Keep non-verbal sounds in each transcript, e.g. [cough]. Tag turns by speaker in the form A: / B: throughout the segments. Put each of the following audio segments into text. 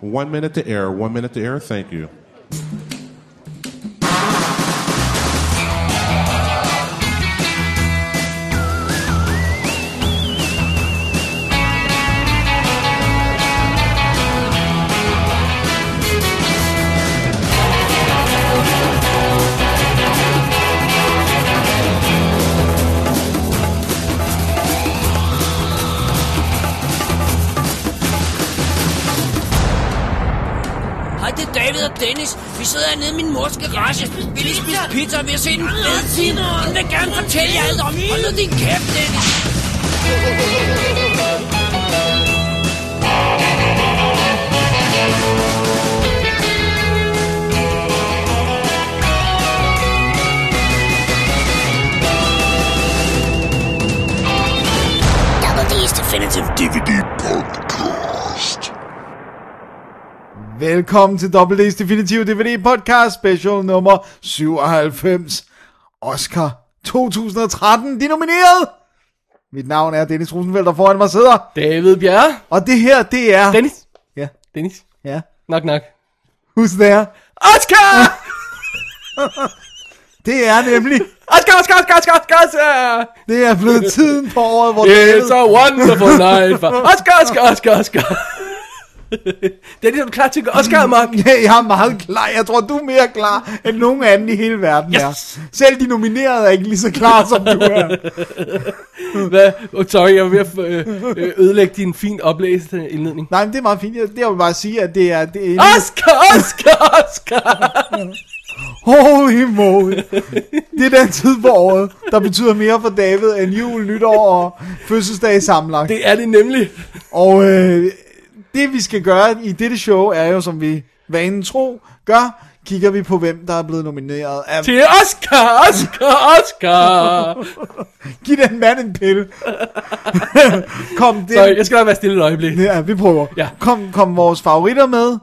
A: One minute to air. One minute to air. Thank you.
B: Hej, det er David og Dennis. Vi sidder hernede i min mors garage. Vi lige spise pizza, og vi har set en fed film. Hun vil gerne fortælle jer alt om. Hold nu din kæft, Dennis. Double D's Definitive DVD Podcast.
C: Velkommen til WD's Definitive DVD Podcast Special nummer 97. Oscar 2013, de er nomineret! Mit navn er Dennis Rosenfeldt, og foran mig sidder.
D: David Bjerre.
C: Og det her, det er...
D: Dennis.
C: Ja,
D: Dennis.
C: ja.
D: Nok, nok.
C: Husk det her.
D: Oscar!
C: Det er nemlig...
D: Oscar, Oscar, Oscar, Oscar, Oscar, Oscar!
C: Det er blevet tiden på året, hvor
D: It's
C: David-
D: a wonderful night for [laughs] Oscar, Oscar, Oscar, Oscar. [laughs] det er ligesom klar til at gå Oscar, Mark.
C: [laughs] Ja, jeg er meget klar. Jeg tror, du er mere klar, end nogen anden i hele verden yes. er. Selv de nominerede er ikke lige så klar, som du er.
D: Hvad? Oh, sorry, jeg var ved at øh, øh, ødelægge din fint oplæste indledning.
C: Nej, men det er meget fint. Jeg, det jeg vil bare sige, at det er... Det er
D: Oscar, Oscar, Oscar!
C: Holy moly. Det er den tid på året, der betyder mere for David end jul, nytår og fødselsdag sammenlagt. Det...
D: Det er det nemlig.
C: Og øh, det vi skal gøre i dette show er jo, som vi vanen tro gør, kigger vi på, hvem der er blevet nomineret. Af...
D: Til Oscar, Oscar, Oscar!
C: Giv den mand en pille. [laughs] Kom, det...
D: Sorry, jeg skal nok være stille et øjeblik.
C: Ja, vi prøver.
D: Ja.
C: Kom, kom vores favoritter med,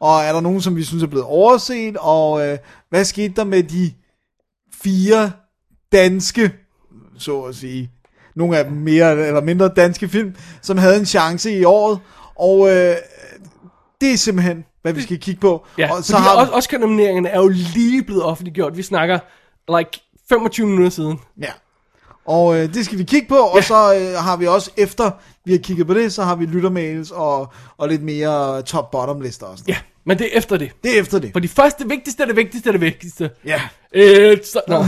C: og er der nogen, som vi synes er blevet overset, og øh, hvad skete der med de fire danske, så at sige, nogle af dem mere eller mindre danske film, som havde en chance i året, og øh, det er simpelthen, hvad vi skal kigge på.
D: Ja,
C: og så har vi,
D: Oscar-nomineringerne er jo lige blevet offentliggjort. Vi snakker, like, 25 minutter siden.
C: ja. og øh, det skal vi kigge på, og ja. så øh, har vi også efter, vi har kigget på det, så har vi lyttermails og, og lidt mere top-bottom lister og sådan
D: Ja, men det er efter det.
C: Det er efter det.
D: For de første det vigtigste er det vigtigste er det vigtigste.
C: Ja.
D: Øh, så, no.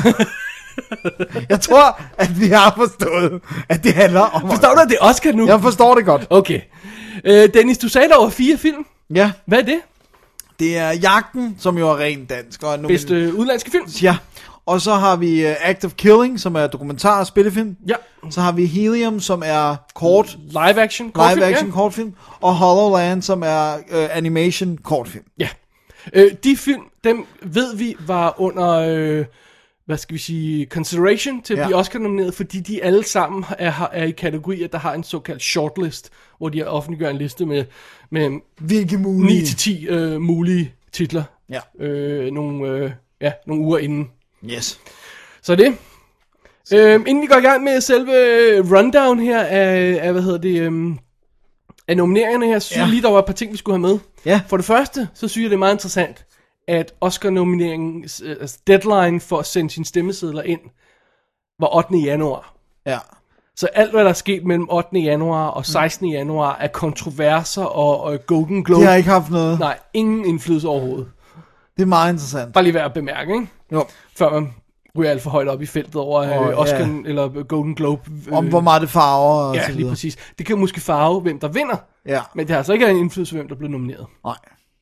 C: Jeg tror, at vi har forstået, at det handler om...
D: [laughs] Forstår du, at det er Oscar nu?
C: Jeg forstår det godt.
D: Okay. Øh, Dennis, du sagde, der var fire film.
C: Ja,
D: Hvad er det?
C: det er Jagten, som jo er rent dansk. Og er nomin-
D: Bedste øh, udenlandske film?
C: Ja, og så har vi uh, Act of Killing, som er dokumentar og spillefilm.
D: Ja.
C: Så har vi Helium, som er kort,
D: Live action? kortfilm,
C: live action
D: Ja.
C: kortfilm. Og Hollowland, som er uh, animation kortfilm.
D: ja. Øh, de film, dem ved vi var under, øh, hvad skal vi sige, consideration til at
C: Ja.
D: blive Oscar-nomineret, fordi de alle sammen er, er i kategorier, der har en såkaldt shortlist, hvor de offentliggør en liste med, med
C: Hvilke mulige...
D: 9-10 øh, mulige titler.
C: Ja.
D: Øh, nogle, øh, ja, nogle uger inden.
C: Yes.
D: Så det. Øhm, inden vi går i gang med selve øh, rundown her af, af hvad hedder det, øhm, af nomineringerne her, så synes
C: Ja.
D: ja. jeg lige, der var et par ting, vi skulle have med.
C: Ja.
D: For det første, så synes jeg, det er meget interessant, at Oscar-nomineringens øh, altså deadline for at sende sine stemmesedler ind, var 8. januar.
C: Ja.
D: Så alt, hvad der er sket mellem 8. januar og 16. januar, er kontroverser og, og Golden Globe.
C: Det har ikke haft noget.
D: Nej, ingen indflydelse overhovedet.
C: Det er meget interessant.
D: Bare lige værd at bemærke, ikke?
C: Jo.
D: Før man ryger alt for højt op i feltet over
C: Åh,
D: oh,
C: ja.
D: øh, Oscar eller Golden Globe. Øh,
C: Om hvor meget det farver og så
D: Ja, lige
C: videre.
D: præcis. Det kan måske farve, hvem der vinder,
C: Ja.
D: men det har altså ikke en indflydelse, hvem der bliver nomineret.
C: Nej.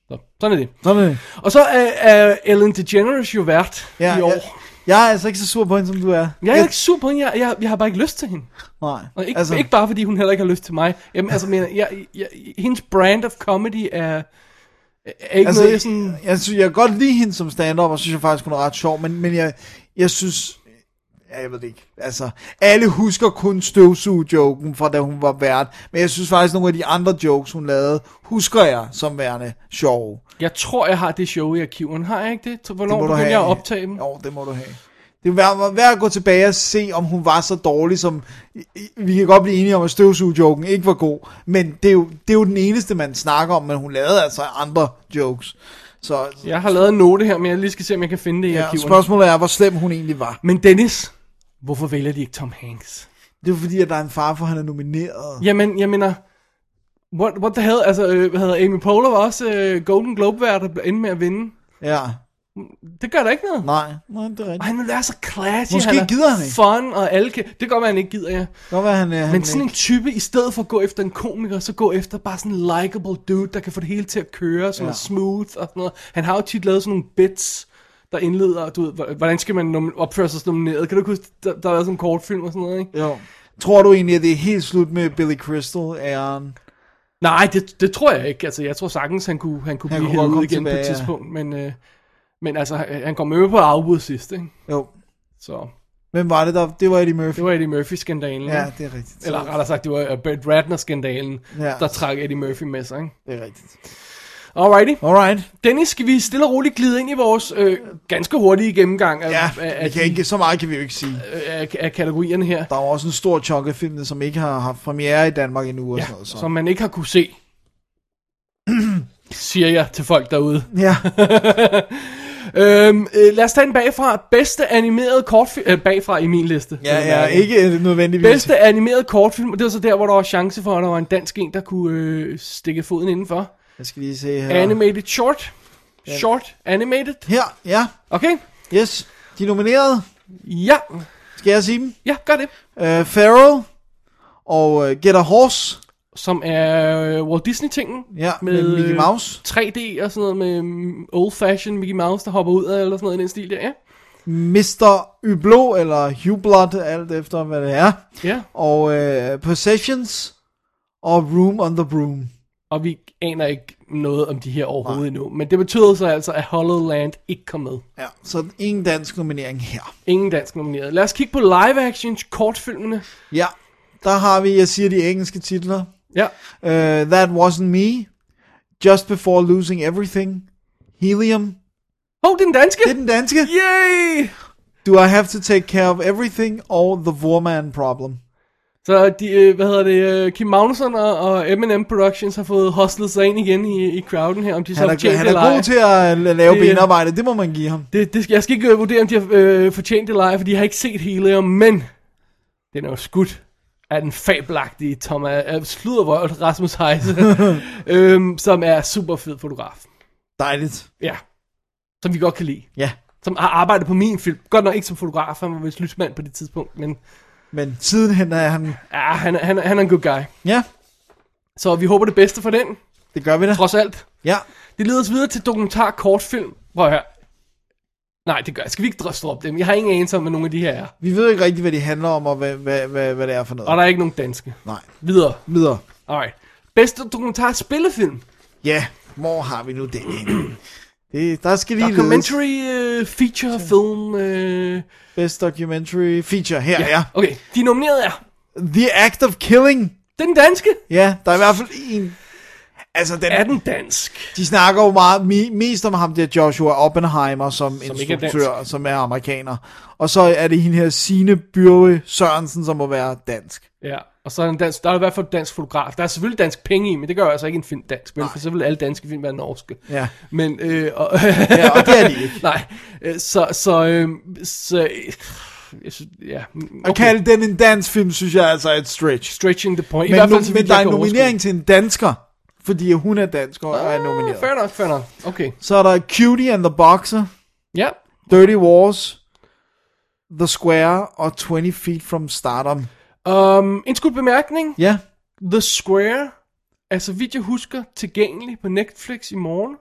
D: Så, sådan er det.
C: Sådan er det.
D: Og så er, er Ellen DeGeneres jo vært
C: Ja,
D: i år.
C: Jeg, jeg er altså ikke så sur på hende, som du er.
D: Jeg er ikke sur på hende, jeg, jeg, jeg har bare ikke lyst til hende.
C: Nej.
D: Og ikke, altså... ikke bare fordi hun heller ikke har lyst til mig. Jamen, altså, men, jeg, jeg, hendes brand of comedy er, er ikke
C: altså,
D: altså, noget, jeg sådan...
C: jeg, jeg, synes, jeg kan godt lide hende som stand-up, og synes jeg faktisk, hun er ret sjov, men, men jeg, jeg synes... Ja, jeg ved det ikke. Altså, alle husker kun støvsuge-joken fra da hun var vært, men jeg synes faktisk, nogle af de andre jokes, hun lavede, husker jeg som værende sjove.
D: Jeg tror, jeg har det show i arkiverne. Har jeg ikke det? Så Hvornår
C: må du
D: begyndte
C: have.
D: jeg at optage dem?
C: Jo, det må du have. Det var var værd at gå tilbage og se, om hun var så dårlig, som... I- I- Vi kan godt blive enige om, at støvsugejoken ikke var god, men det er, jo, det er jo den eneste, man snakker om, men hun lavede altså andre jokes. Så
D: Jeg har lavet en note her, men jeg lige skal se, om jeg kan finde det i ja,
C: ja,
D: arkiverne.
C: spørgsmålet er, hvor slem hun egentlig var.
D: Men Dennis, hvorfor vælger de ikke Tom Hanks?
C: Det er jo fordi, at der er en far for, at han er nomineret.
D: Jamen, jeg mener... What, what the hell? Altså, øh, hvad hedder Amy Poehler var også øh, Golden Globe-vært og endte med at vinde.
C: Ja,
D: Det gør da ikke noget.
C: nej, nej det er rigtigt.
D: Og han vil være så classy.
C: Måske
D: han er
C: gider han ikke.
D: Fun, og alle kan... Det kan godt være, han ikke gider, ja.
C: Godt, hvad han, øh, han
D: Men sådan en type, i stedet for at gå efter en komiker, så gå efter bare sådan en likable dude, der kan få det hele til at køre, sådan ja.
C: Ja.
D: smooth og sådan noget. Han har jo tit lavet sådan nogle bits, der indleder, du ved, hvor- hvordan skal man nom- opføre sig som nomineret? Kan du ikke huske, der, der har været sådan en kortfilm og sådan noget, ikke?
C: Jo. Tror du egentlig, at det er helt slut med Billy Crystal æren?
D: Nej, det, det tror jeg ikke. Altså, jeg tror sagtens, han kunne, han kunne
C: Han
D: blive
C: kunne godt
D: hævet
C: komme
D: igen på et
C: tilbage, ja.
D: tidspunkt, men, øh, men altså, han han kom med på afbud sidst, ikke?
C: Jo.
D: Så
C: Hvem var det der? Det var Eddie Murphy.
D: det var Eddie Murphy-skandalen.
C: Ja,
D: ikke?
C: det er rigtigt.
D: Eller rettere sagt, det var øh, Brett Ratner-skandalen,
C: Ja.
D: der trak Eddie Murphy med sig, ikke?
C: Det er rigtigt.
D: Alrighty.
C: Alright.
D: Dennis, skal vi stille og roligt glide ind i vores øh, ganske hurtige gennemgang af,
C: Ja,
D: af,
C: vi
D: af,
C: kan ikke, så meget kan vi jo ikke sige.
D: af, af, af kategorierne her,
C: Der er jo også en stor chunk af filmene, som ikke har haft premiere i Danmark endnu. Og ja, sådan noget, så.
D: som man ikke har kunne se, siger jeg til folk derude.
C: [laughs] ja.
D: Øhm, øh, lad os tage den bagfra. Bedste animerede kortfilm... Øh, bagfra i min liste.
C: ja,
D: vil jeg
C: ja,
D: mærke.
C: ikke nødvendigvis.
D: Bedste animerede kortfilm, og det var så der, hvor der var chance for, at der var en dansk en, der kunne øh, stikke foden indenfor.
C: Jeg skal lige se her.
D: Ja. Animated short. Short animated.
C: Her, ja.
D: Okay?
C: Yes. De er nomineret.
D: Ja.
C: Skal jeg sige dem?
D: Ja, gør det.
C: Uh, Pharaoh og uh, Get a Horse.
D: Som er øh, Walt Disney-tingen.
C: Ja, med, med Mickey
D: øh,
C: Mouse.
D: 3D og sådan noget med mm, old fashion Mickey Mouse, der hopper ud af, eller sådan noget i den stil der, ja.
C: Mr. Yblå, eller Hublot, alt efter hvad det er.
D: Ja,
C: og øh, Possessions og Room on the Broom.
D: og vi aner ikke noget om de her overhovedet endnu. Men det betød så altså, at Hollow Land ikke kom med.
C: Ja. Så ingen dansk nominering her.
D: Ingen dansk nomineret. Lad os kigge på live action kortfilmene.
C: Ja, der har vi, jeg siger de engelske titler.
D: Ja,
C: Uh, That Wasn't Me, Just Before Losing Everything, Helium.
D: Hov, det er den danske!
C: Det er den
D: [laughs]
C: danske.
D: Yay!
C: Do I Have to Take Care of Everything og The Vorman Problem.
D: Så de, øh, hvad hedder det, øh, Kim Magnusson og, og M&M Productions har fået hostlet sig ind igen i, i crowden her, om de så
C: Han
D: har
C: er,
D: fortjent
C: han
D: det eller
C: er
D: ej.
C: god til at la- lave
D: Det-
C: benarbejde, det må man give ham.
D: Det, det, jeg skal ikke øh, vurdere, om de har øh, fortjent det eller ej, fordi jeg har ikke set Helium, men den er jo skudt af den fabelagtige Thomas øh, Sludervold Rasmus Heise, øhm, som er super fed fotograf.
C: Dejligt.
D: Ja. Som vi godt kan lide.
C: Ja,
D: Som har arbejdet på min film. Godt nok ikke som fotograf, han var vist lysmand på det tidspunkt, men
C: men sidenhen er han...
D: ja, han, er- han, er- han er en good guy.
C: Ja,
D: Så vi håber det bedste for den,
C: det gør vi da.
D: trods alt.
C: Ja,
D: Det leder os videre til dokumentar kortfilm. Prøv at høre. Nej, det gør jeg. Skal vi ikke drøste op dem? Jeg har ingen anelse om, hvad nogle af de her er.
C: vi ved ikke rigtig, hvad de handler om, og hvad, hvad, hvad, hvad det er for noget.
D: Og der er ikke nogen danske.
C: Nej,
D: Videre.
C: videre.
D: Alright. Bedste dokumentar spillefilm.
C: Ja, hvor har vi nu den henne? Det, der skal lige ledes.
D: Documentary uh, feature film. Uh...
C: Best documentary feature her, ja. ja.
D: Okay, de nominerede er
C: The Act of Killing.
D: den danske.
C: Ja, der er i hvert fald en... Altså, den,
D: Er den dansk?
C: de snakker jo meget, mi, mest om ham der Joshua Oppenheimer som, som
D: ikke er dansk.
C: instruktør, er som er amerikaner. Og så er det hende her Signe Byrve Sørensen, som må være dansk.
D: Ja, og så er den dansk, der er i hvert fald dansk fotograf. Der er selvfølgelig dansk penge i, men det gør altså ikke en film dansk, vel? for så vil alle danske film være norske.
C: Ja.
D: Men, øh, og,
C: Ja, og det er de ikke.
D: [laughs] nej, øh, så, så, øh, så, øh, jeg synes, ja,
C: At kalde den en dansk film, synes jeg altså er et stretch.
D: stretching the point. I
C: Men,
D: hvert
C: nu,
D: fald, så vidt
C: men der
D: jeg
C: er en
D: kan
C: nominering til en dansker, fordi hun er dansker og er nomineret.
D: overskue. Ah, Fair nok, fair nok. Okay,
C: Så er der Cutie and the Boxer,
D: ja.
C: Dirty Wars, The Square og 20 Feet from Stardom.
D: Um, en skud bemærkning.
C: Ja,
D: The Square er, så vidt jeg husker, tilgængelig på Netflix i morgen,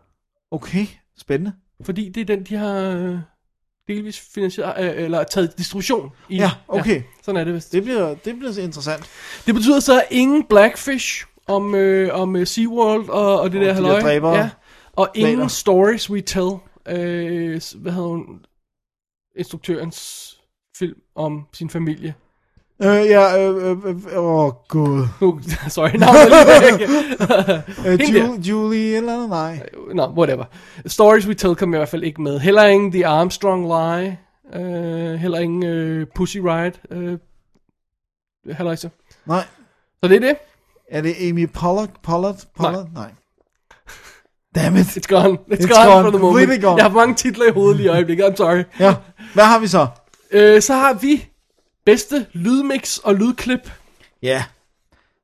C: okay. Spændende.
D: fordi det er den, de har øh, delvis finansieret, øh, eller taget distribution i.
C: Ja, okay.
D: sådan er det vist.
C: Det bliver, det bliver så interessant.
D: Det betyder så ingen Blackfish om, øh, om øh, SeaWorld og, og det
C: Og
D: der
C: de
D: halløj.
C: der dræbere.
D: ja. Og ingen
C: Planer.
D: Stories We Tell. Øh, s- hvad hedder hun? Instruktørens film om sin familie.
C: Øh, ja, øh, øh, øh, åh gud.
D: Nu, [laughs] sorry, navnet er lige væk.
C: [laughs] Øh,
D: Hende
C: Ju- Julie eller andet, nej.
D: Nå, whatever. Stories We Tell kom i hvert fald ikke med. Heller ingen The Armstrong Lie. Øh, heller ingen øh, Pussy Riot. Øh, halløjse.
C: Nej.
D: Så det er det.
C: Er det Amy Pollard? Pollard? Pollard? Nej. Dammit.
D: It's gone. It's,
C: It's
D: It's gone,
C: gone.
D: gone for the moment.
C: Really gone.
D: Jeg har for mange titler i hovedet lige i øjeblikket. I'm sorry.
C: Ja. Hvad har vi så?
D: Øh, så har vi bedste lydmix og lydklip.
C: Ja.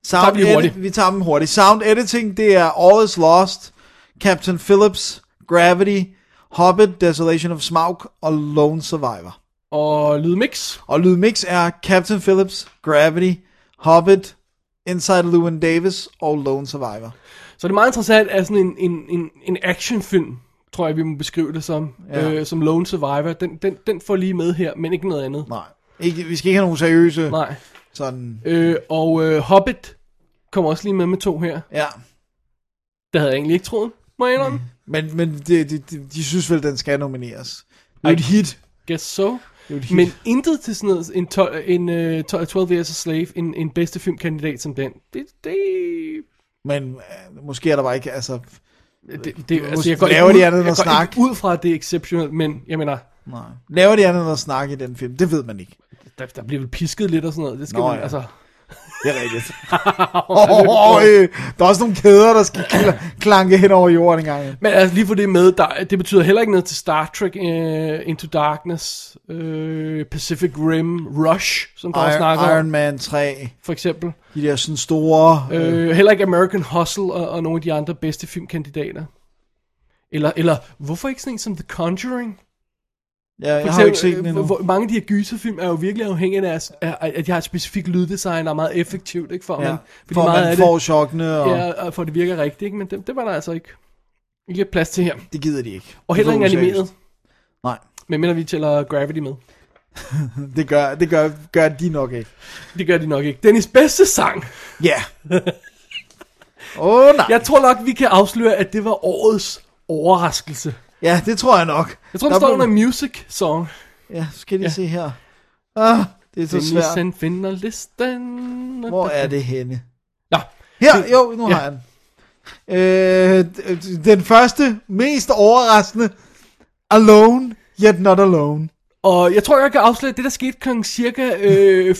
D: Tager
C: Sound
D: vi lige hurtigt.
C: edit, vi tager dem hurtigt. Sound editing, det er All is Lost, Captain Phillips, Gravity, Hobbit, Desolation of Smaug og Lone Survivor.
D: Og lydmix.
C: Og lydmix er Captain Phillips, Gravity, Hobbit, Inside Llewyn Davis og Lone Survivor.
D: Så det er meget interessant, at sådan en, en, en, en actionfilm, tror jeg, vi må beskrive det som,
C: Ja.
D: ja. øh, som Lone Survivor, den, den, den får lige med her, men ikke noget andet.
C: Nej. Ikke, vi skal ikke have nogen seriøse Nej.
D: Nej.
C: sådan...
D: Øh, og øh, Hobbit kommer også lige med med to her.
C: Ja.
D: Det havde jeg egentlig ikke troet, må jeg indrømme.
C: Men, men de, de, de, de synes vel, den skal nomineres. Det er
D: Ej.
C: et hit.
D: Guess so.
C: Det er et hit.
D: Men intet til sådan noget, en, 12, en øh, 12, 12 Years a Slave, en, en bedste filmkandidat som den. Det, det,
C: Men øh, måske er der bare ikke, altså...
D: det, det
C: Måske
D: altså, jeg går ikke
C: laver
D: ud,
C: de andet end
D: jeg
C: at
D: går
C: snakke.
D: ikke ud fra, at det er exceptionelt, men jeg mener,
C: Nej. Laver de andet end at snakke i den film? Det ved man ikke.
D: der, der bliver vel pisket lidt og sådan noget. Det skal
C: Nå,
D: Nå, man,
C: ja.
D: ja. altså...
C: Det er [laughs] rigtigt. oh, øh, der er også nogle kæder, der skal kl- klanke hen over jorden engang.
D: Men altså, lige for det med, der, det betyder heller ikke noget til Star Trek uh, Into Darkness, uh, Pacific Rim, Rush, som der også snakker
C: Iron, Iron
D: om,
C: Man 3,
D: for eksempel.
C: de der sådan store... Øh,
D: Uh, heller ikke American Hustle og, og nogle af de andre bedste filmkandidater. Eller, eller hvorfor ikke sådan en som The Conjuring?
C: ja,
D: For
C: jeg har jo ikke set den
D: øh,
C: endnu.
D: hvor- Mange af de her gyserfilm er jo virkelig afhængige af, deres, af af- at de har et specifikt lyddesign, der er meget effektivt, ikke? For, ja,
C: Ja,
D: man, fordi
C: for
D: meget
C: man
D: af
C: får chokkene, og
D: det,
C: ja.
D: ja, og for det virker rigtigt, ikke? Men det, det var der altså ikke, ikke plads til her.
C: det gider de ikke.
D: Og heller ikke
C: Det er
D: animeret.
C: Nej,
D: Men mindre vi tæller Gravity med.
C: det gør, det gør, gør de nok ikke.
D: Det gør de nok ikke. Dennis bedste sang. [laughs]
C: Ja. Yeah. Åh oh, nej.
D: Jeg tror nok, vi kan afsløre, at det var årets overraskelse.
C: Ja, det tror jeg nok.
D: Jeg tror,
C: Der
D: der står
C: blev-
D: under music song.
C: Ja, skal lige ja. se her. Ah, det er så
D: Dennis
C: svært.
D: han finder listen.
C: Hvor er det henne?
D: Nå,
C: Her, jo, nu ja.
D: Ja.
C: har jeg den. Øh, d- den første, mest overraskende, Alone, Yet Not Alone.
D: og jeg tror, jeg kan afsløre, at det, der skete kl. cirka øh,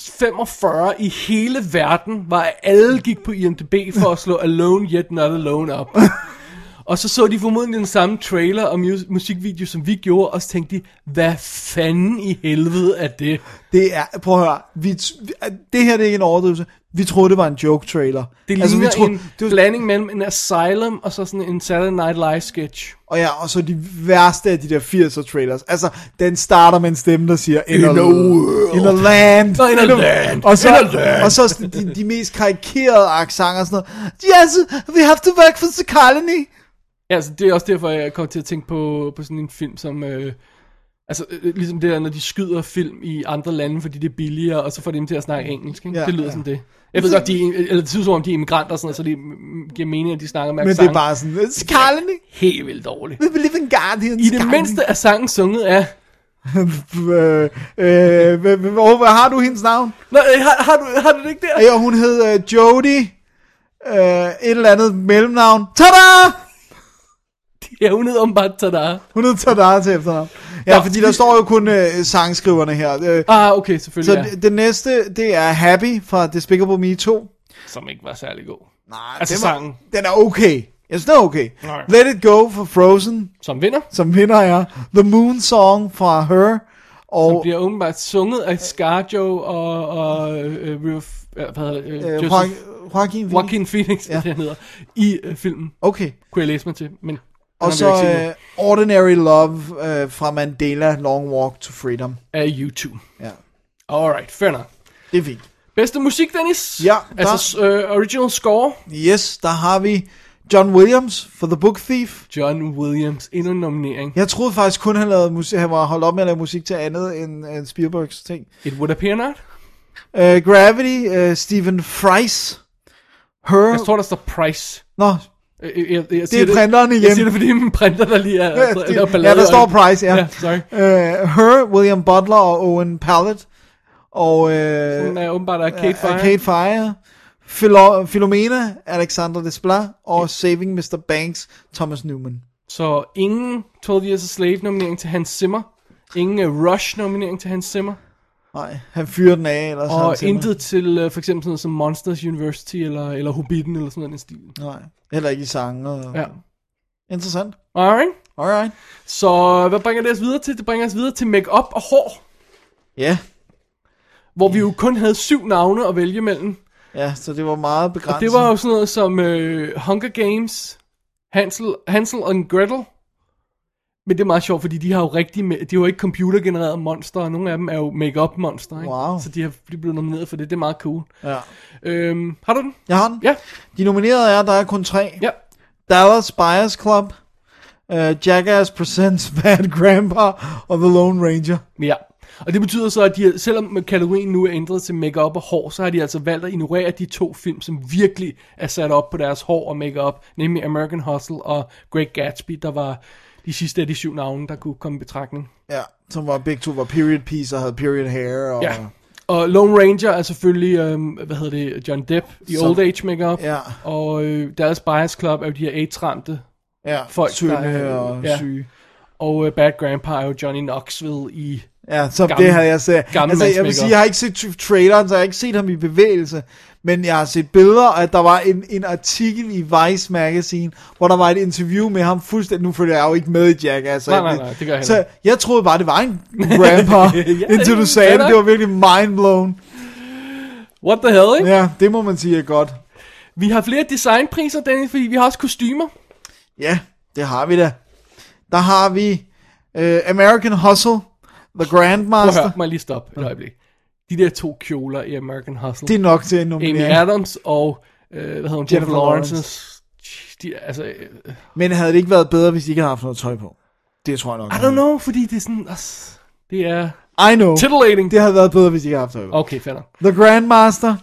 D: 14.45 i hele verden, var, at alle gik på IMDb for at slå Alone Yet Not Alone op. Og så så de formodentlig den samme trailer og mus- musikvideo, som vi gjorde, og så tænkte de, hvad fanden i helvede er det?
C: Det er, prøv at høre, vi, t- vi- det her det er ikke en overdrivelse. Vi troede, det var en joke-trailer.
D: Det altså, ligner
C: vi troede,
D: en
C: det var,
D: blanding mellem en Asylum og så sådan en Saturday Night Live sketch.
C: og ja, og så de værste af de der 80'er trailers. Altså, den starter med en stemme, der siger, In,
D: a world.
C: In a land.
D: Nå, in a land.
C: Og så,
D: In a land.
C: og så sådan de, de mest karikerede accenter og sådan noget. Yes, we have to work for the colony.
D: Ja, altså, det er også derfor, jeg kom til at tænke på, på sådan en film som... Øh, altså, øh, ligesom det der, når de skyder film i andre lande, fordi det er billigere, og så får de dem til at snakke engelsk. Ikke?
C: Ja,
D: Ja, det lyder
C: ja.
D: ja. som det. Jeg ved godt, de, er- øh, eller det synes som om, de er immigranter og sådan noget, så det mm, giver mening, at de snakker med
C: Men det
D: accent.
C: er bare sådan, it's a colony.
D: helt vildt dårligt.
C: We believe in guardians.
D: I det mindste er sangen sunget af...
C: [laughs] øh, øh, hvad, hvad, hvor- hvad har du hendes navn?
D: Nå, øh, har, har, du, har du det ikke der?
C: Ja, hun hed øh, Jody. Øh, et eller andet mellemnavn. Tada!
D: Ja, hun hedder åbenbart Tada.
C: Hun hed Tada til efternavn. Ja,
D: Nå.
C: fordi der står jo kun øh, sangskriverne her. Øh,
D: Ah, okay,
C: så
D: selvfølgelig ja.
C: det, det næste, det er Happy fra Despicable Me 2.
D: Som ikke var særlig god.
C: Nej,
D: Altså
C: den var-
D: sangen.
C: Den er okay. Jeg synes, den er okay.
D: Nej.
C: Let It Go fra Frozen,
D: Som vinder.
C: som vinder er. The Moon Song fra Her. Og
D: Som bliver åbenbart sunget af Scarjo og, og øh, River, F- øh, hvad hedder det, øh,
C: øh,
D: Joseph,
C: Joa- Joaquin Phoenix.
D: Joaquin Phoenix,
C: Ja.
D: ja. [laughs] det han hedder, i øh, filmen,
C: Okay.
D: kunne jeg læse mig til, men
C: Og så øh, Ordinary Love øh, fra Mandela, Long Walk to Freedom.
D: af YouTube.
C: Ja,
D: Alright, fair nok.
C: det er fint.
D: Bedste musik, Dennis?
C: Ja, der-
D: Altså s- øh, original score,
C: Yes, der har vi John Williams for The Book Thief.
D: John Williams, endnu en nominering.
C: Jeg troede faktisk kun, han, lavede musik, han var holdt op med at lave musik til andet end, end Spielbergs ting.
D: It would appear not.
C: Uh, Gravity, uh, Stephen Fries, Her...
D: Jeg tror, der står Price.
C: Nå,
D: Øh, øh, Jeg, jeg, jeg
C: det er
D: siger
C: printeren igen.
D: Jeg siger det, fordi min printer, der lige er,
C: Ja,
D: er
C: det, ja,
D: ballade
C: der står
D: om-
C: Price, ja.
D: Ja, sorry.
C: Uh, Her, William Butler og Owen Pallett. Og uh,
D: Hun er åbenbart Arcade Fire.
C: Arcade Fire. Philo- Philomena, Alexander Desplat og Saving Mr. Banks, Thomas Newman.
D: Så ingen 12 Years a Slave nominering til Hans Zimmer. Ingen uh, Rush-nominering til Hans Zimmer.
C: Nej, han fyrer den af, eller så
D: Og
C: han sender-
D: intet til uh, for eksempel sådan noget som Monsters University eller, eller Hobbiten eller sådan noget i den stil.
C: Nej, heller ikke i sange. Og...
D: Ja.
C: Interessant.
D: Alright.
C: Alright.
D: Så øh, hvad bringer det os videre til? Det bringer os videre til makeup og hår,
C: Ja,
D: hvor vi jo kun havde syv navne at vælge mellem.
C: ja, så det var meget begrænset.
D: Og det var jo sådan noget som øh, Hunger Games, Hansel, Hansel and Gretel. Men det er meget sjovt, fordi de har jo rigtig, ma- de har jo ikke computergenererede monster, og nogle af dem er jo make-up monster, ikke?
C: Wow.
D: Så de har de er blevet nomineret for det, det er meget cool.
C: Ja.
D: Øhm, har du den?
C: Jeg har den.
D: Ja,
C: De nominerede er, der er kun tre.
D: ja.
C: Dallas Buyers Club, uh, Jackass Presents [laughs] Bad Grandpa og The Lone Ranger.
D: Ja. Og det betyder så, at de, selvom kategorien nu er ændret til makeup og hår, så har de altså valgt at ignorere de to film, som virkelig er sat op på deres hår og makeup, nemlig American Hustle og Great Gatsby, der var de sidste af de syv navne, der kunne komme i betragtning.
C: Ja, som var begge to var period piece og havde period hair. Og,
D: Ja. Og Lone Ranger er selvfølgelig, øhm, hvad hedder det, John Depp i
C: Så-
D: Old Age Makeup.
C: Ja.
D: Og øh, deres Bias Club er jo de her AIDS-ramte.
C: ja
D: Folk,
C: folk,
D: der
C: tynde
D: er-
C: og
D: ja.
C: ja. syge.
D: Og øh, Bad Grandpa er jo Johnny Knoxville i...
C: Ja, så
D: Gammel-
C: det havde jeg set.
D: gammel
C: Altså,
D: mands
C: jeg vil
D: makeup.
C: sige, jeg har ikke set tra- traileren, så jeg har ikke set ham i bevægelse. Men jeg har set billeder, og at der var en, en artikel i Vice Magazine, hvor der var et interview med ham fuldstændig. Nu følger jeg jo ikke med i Jackass. så
D: Nej,
C: jeg-
D: nej, nej, det gør jeg
C: Så
D: heller
C: jeg troede bare, det var en
D: [laughs]
C: grandpa, indtil du sagde
D: fair
C: det. Det var virkelig mindblown.
D: What the hell, ikke?
C: Ja, det må man sige er godt.
D: Vi har flere designpriser, Dennis, fordi vi har også kostymer.
C: Ja, det har vi da. Der har vi øh, American Hustle, The
D: Prøv at
C: Grandmaster.
D: høre, må jeg lige stoppe et øjeblik. De der to kjoler i American
C: Det
D: Hustle. Det
C: er nok til en
D: Amy
C: nominering.
D: Adams og, øh, hvad hedder hun, Jennifer
C: Jennifer
D: Lawrence.
C: Lawrence.
D: De, er- altså, øh,
C: Men havde det ikke været bedre, hvis de ikke havde haft noget tøj på? Det tror jeg nok.
D: I don't know, fordi det er sådan, os- det er
C: I know.
D: titillating.
C: Det havde været bedre, hvis de ikke havde haft tøj på.
D: Okay, fair nok.
C: The Grandmaster,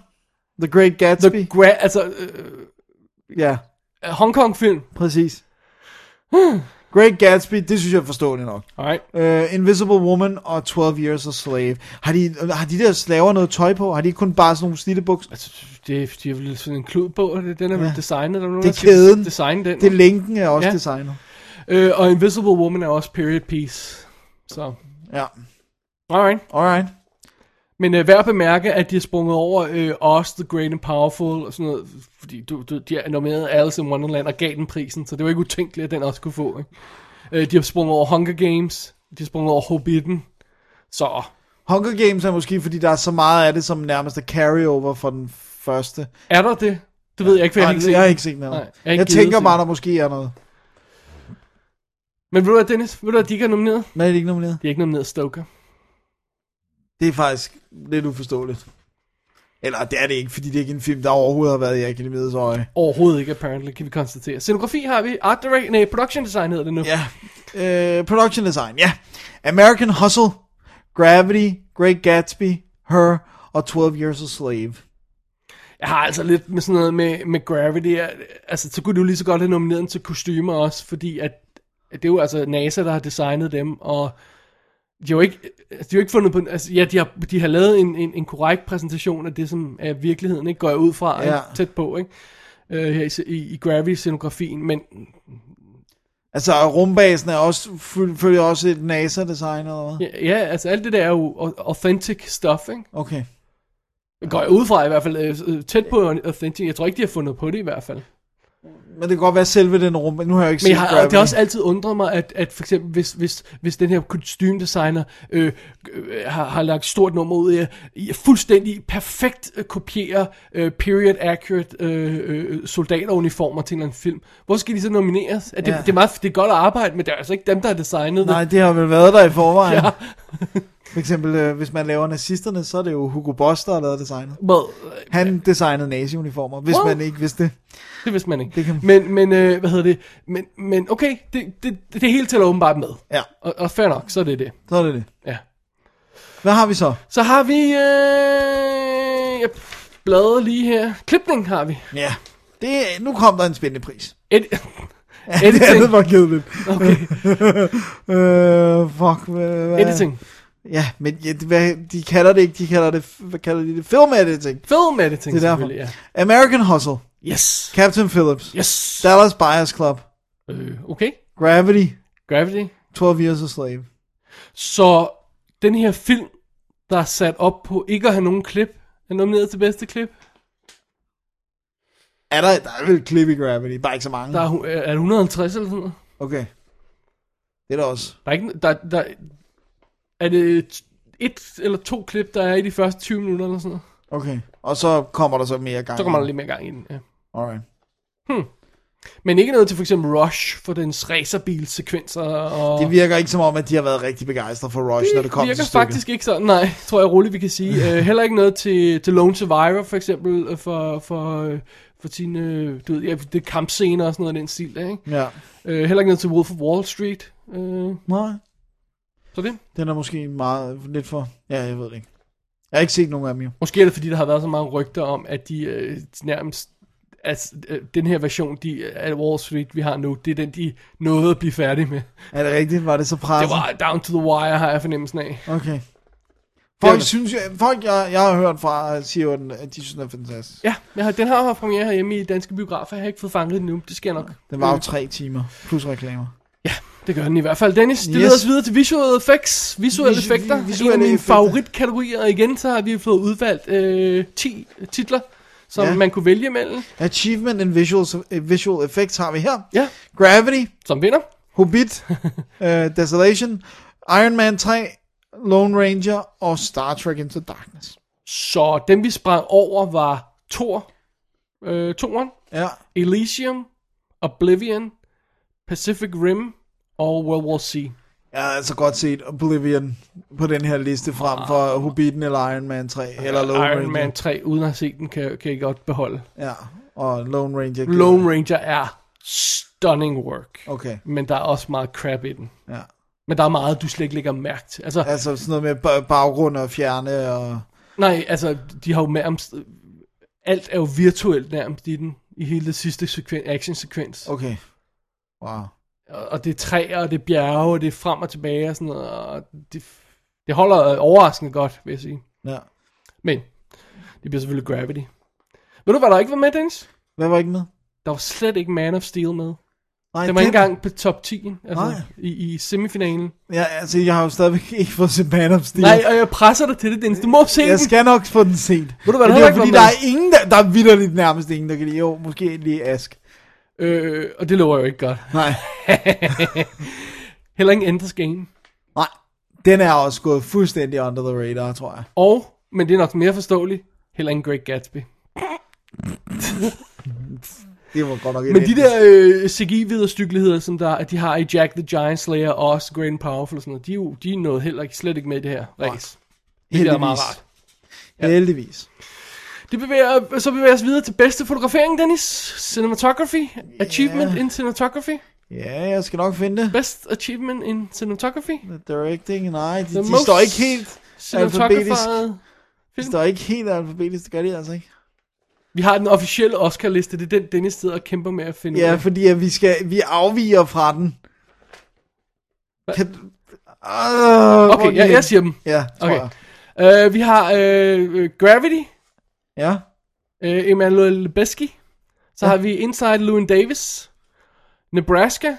C: The Great Gatsby.
D: The Gra- altså, øh,
C: Ja,
D: Hong Kong film.
C: præcis. Great Gatsby, det synes jeg er forståeligt nok.
D: Alright.
C: Uh, Invisible Woman og 12 Years a Slave. Har de, har de der slaver noget tøj på? Har de ikke kun bare sådan nogle slitte bukser?
D: Altså, det er, de har vel sådan en klud på, og det- den er vel
C: Ja.
D: designet, der er nogen,
C: Det er
D: der skal
C: kæden.
D: designe den.
C: Det er lænken er også
D: Ja.
C: ja. designet.
D: øh, og Invisible Woman er også period piece. Så,
C: Ja,
D: alright.
C: alright.
D: Men øh, værd at bemærke, at de har sprunget over øh, Oz, The Great and Powerful og sådan noget, fordi du, du, de har nomineret Alice in Wonderland og gav den prisen, så det var ikke utænkeligt, at den også kunne få. Ikke? Øh, de har sprunget over Hunger Games, de har sprunget over Hobbiten, så
C: Hunger Games er måske, fordi der er så meget af det, som nærmest er carryover for den første.
D: er der det? Det ved jeg ikke, for jeg har ikke
C: Nej,
D: set
C: jeg har
D: den.
C: ikke set noget.
D: Nej, jeg
C: Jeg,
D: har ikke
C: jeg
D: givet
C: tænker
D: at se
C: bare,
D: den.
C: der måske er noget.
D: Men ved du hvad, Dennis? Ved du hvad, de ikke er nomineret?
C: Men er det ikke nomineret?
D: De er ikke nomineret Stoker.
C: Det er faktisk lidt uforståeligt. Eller det er det ikke, fordi det er ikke en film, der overhovedet har været i Akademiets øje.
D: Overhovedet ikke, apparently, kan vi konstatere. Scenografi har vi. Art direct, nej, production design hedder det nu.
C: Ja. Øh, production design, ja. American Hustle, Gravity, Great Gatsby, Her og 12 Years a Slave.
D: Jeg har altså lidt med sådan noget med, med Gravity. Jeg- Altså, så kunne du lige så godt have nomineret den til kostymer også, fordi at, at det er jo altså NASA, der har designet dem, og de har jo ikke, altså, de har jo ikke fundet på... Altså, ja, de har, de har lavet en, en, en korrekt præsentation af det, som er virkeligheden, ikke? Går jeg ud fra,
C: Ja.
D: ja. tæt på, ikke? Øh, her i, i, i Gravity-scenografien, men
C: Altså, rumbasen er også, føl- følger også et NASA-design eller hvad?
D: ja, ja, altså alt det der er jo au- authentic stuff, ikke?
C: Okay.
D: Går jeg ud fra i hvert fald, øh, øh, tæt på authentic. Jeg tror ikke, de har fundet på det i hvert fald.
C: Men det kan godt være selve den rum... Nu har jeg jo ikke
D: Men
C: set
D: jeg har,
C: Gravity.
D: det har også altid undret mig, at, at for eksempel, hvis, hvis, hvis den her kostymdesigner øh, øh, har, har lagt stort nummer ud af at i- fuldstændig perfekt øh, kopiere øh, period accurate øh, øh, soldateruniformer til en eller anden film. Hvor skal de så nomineres? At det, ja.
C: Ja.
D: det, er meget, det er godt at arbejde, men det er altså ikke dem, der har designet
C: Nej,
D: [laughs] det.
C: det har vel været der i forvejen.
D: Ja.
C: Ja. For eksempel, øh, hvis man laver nazisterne, så er det jo Hugo Boss, der har lavet designet.
D: Well, øh,
C: Han designede nazi-uniformer, hvis
D: Wow.
C: man ikke vidste det.
D: det vidste man ikke.
C: Det kan-
D: Men, men øh, hvad hedder det? Men, men okay, det, det, det, det hele tæller åbenbart med.
C: Ja,
D: Og, og fair nok, så er det det.
C: så er det det.
D: Ja.
C: Hvad har vi så?
D: Så har vi... Øh, jeg bladrer lige her. Klipning har vi.
C: Ja. Det, nu kom der en spændende
D: [laughs]
C: pris.
D: Ed-
C: Det andet
D: editing.
C: var kedeligt. [laughs]
D: Okay.
C: øh, fuck. Hvad, hvad?
D: editing.
C: Ja, men ja, det- hvad, de kalder det ikke, de kalder det, hvad kalder de det? Film editing.
D: Film editing,
C: Det er derfor.
D: selvfølgelig, ja.
C: American Hustle,
D: Yes.
C: Captain Phillips,
D: Yes.
C: Dallas Buyers Club,
D: Øh, okay.
C: Gravity,
D: Gravity.
C: 12 Years a Slave.
D: Så den her film, der er sat op på ikke at have nogen klip, er nomineret til bedste klip.
C: Er der, der er vel et klip i Gravity, bare ikke så mange.
D: Der er, hu- er det 150 eller sådan noget.
C: Okay. Det er der også.
D: Der er ikke, der, der, er det et eller to klip, der er i de første 20 minutter eller sådan noget.
C: Okay. Og så kommer der så mere gang.
D: Så kommer der lidt mere gang i den, ja.
C: Alright.
D: Men ikke noget til for eksempel Rush for dens racerbilsekvenser. Og...
C: Det virker ikke som om, at de har været rigtig begejstrede for Rush, når det kommer
D: virker
C: til stykket.
D: faktisk ikke sådan, nej, tror jeg roligt, vi kan sige. uh, heller ikke noget til, til Lone Survivor, for eksempel, øh, for, for, øh, for sine, øh, du ved, ja, det er kampscener og sådan noget af den stil, der, ikke?
C: Ja.
D: Uh, heller ikke noget til Wolf of Wall Street. Uh,
C: Nej,
D: så det.
C: den er måske meget, lidt for... Ja, jeg ved det ikke. Jeg har ikke set nogen af dem jo.
D: Måske er det, fordi der har været så mange rygter om, at de øh, nærmest... Altså, øh, den her version de, af Wall Street, vi har nu, det er den, de nåede at blive færdige med.
C: Er det rigtigt? Var det så
D: Det
C: presset?
D: var down to the wire, har jeg fornemmelsen af.
C: Okay.
D: Det var
C: Folk
D: det.
C: synes jo, folk jeg, jeg har hørt fra, siger jo, at den- at de synes, den er fantastisk.
D: Ja, jeg har, den har haft premiere herhjemme i danske biografer. Jeg har ikke fået fanget den nu. Det sker nok.
C: Den var jo tre timer, plus reklamer.
D: Det gør den i hvert fald. Dennis, det
C: Yes.
D: yes. leder os videre til visual effects. Visuelle
C: Visu-
D: effekter.
C: vi-
D: Visuelle
C: visuelle
D: en af mine
C: effekter.
D: favoritkategorier. Og igen, så har vi fået udvalgt øh, 10 titler, som
C: Ja.
D: man kunne vælge imellem.
C: Achievement and visuals, eh, visual effects har vi her.
D: Ja,
C: Gravity,
D: som vinder.
C: Hobbit, [laughs] uh, Desolation, Iron Man 3, Lone Ranger og Star Trek Into Darkness.
D: Så dem, vi sprang over, var Thor, øh, Toren,
C: Ja,
D: Elysium, Oblivion, Pacific Rim og World War C.
C: jeg har altså godt set Oblivion på den her liste frem for Hobbiten eller Iron Man 3 eller Lone
D: Ah. Iron
C: Ranger.
D: Man 3, uden at have set den, kan, kan jeg godt beholde.
C: Ja, og Lone Ranger.
D: Lone Ranger er stunning work.
C: Okay,
D: Men der er også meget crap i den.
C: ja.
D: Men der er meget, du slet ikke lægger mærke til. Altså, ja.
C: Altså sådan noget med ba- baggrund og fjerne og...
D: nej, altså, de har jo nærmest... Alt er jo virtuelt nærmest i den. I hele det sidste sekven, action-sekvens.
C: Okay. Wow.
D: Og, og det er træer, og det er bjerge, og det er frem og tilbage og sådan noget. Og det, det holder øh, overraskende godt, vil jeg sige.
C: Ja.
D: Men, det bliver selvfølgelig Gravity. Ved du, hvad der ikke var med, Dennis?
C: Hvad var ikke med?
D: Der var slet ikke Man of Steel med.
C: Nej,
D: Den var ikke engang på top 10, altså
C: Nej.
D: i, i semifinalen.
C: Ja, altså, jeg har jo stadigvæk ikke fået set Man of Steel.
D: Nej, og jeg presser dig til det, Dennis. Du må se
C: jeg
D: den.
C: skal nok få den set.
D: Ved du,
C: Men
D: hvad der
C: det er
D: heller
C: fordi,
D: ikke var
C: der er ingen, der, der er vidderligt nærmest ingen, der kan lide. Jo, måske lige Ask.
D: Øh, og det lover jo ikke godt. [laughs]
C: Nej.
D: Heller ikke Enders Game.
C: Nej. Den er også gået fuldstændig under the radar, tror jeg.
D: Og, men det er nok mere forståeligt, heller ikke Great Gatsby.
C: Det var godt nok et
D: Men de
C: etisk-
D: der øh, CGI-viderstykkeligheder, som der, at de har i Jack the Giant Slayer og også Great and Powerful og sådan noget, de, er jo- de er noget heller ikke, slet ikke med i det her race. Det er meget rart.
C: Ja. Heldigvis.
D: Det bevæger, så bevæger vi os videre til bedste fotografering, Dennis. Cinematography. Achievement in cinematography.
C: Ja, jeg skal nok finde det.
D: Best achievement in cinematography.
C: The Directing, nej, de,
D: The
C: de
D: most
C: står ikke helt,
D: Cinematography.
C: de står ikke helt alfabetisk, det gør de altså ikke.
D: Vi har den officielle Oscar-liste. Det er den, Dennis sidder og kæmper med at finde
C: Ja,
D: ud af.
C: fordi at vi, skal, vi afviger fra den. Kan, uh,
D: Okay, jeg, jeg siger dem.
C: Ja, tror
D: Okay.
C: jeg.
D: Uh, vi har uh, Gravity,
C: Ja,
D: uh, Emmanuel Lubezki. Så ja. har vi Inside Llewyn Davis, Nebraska,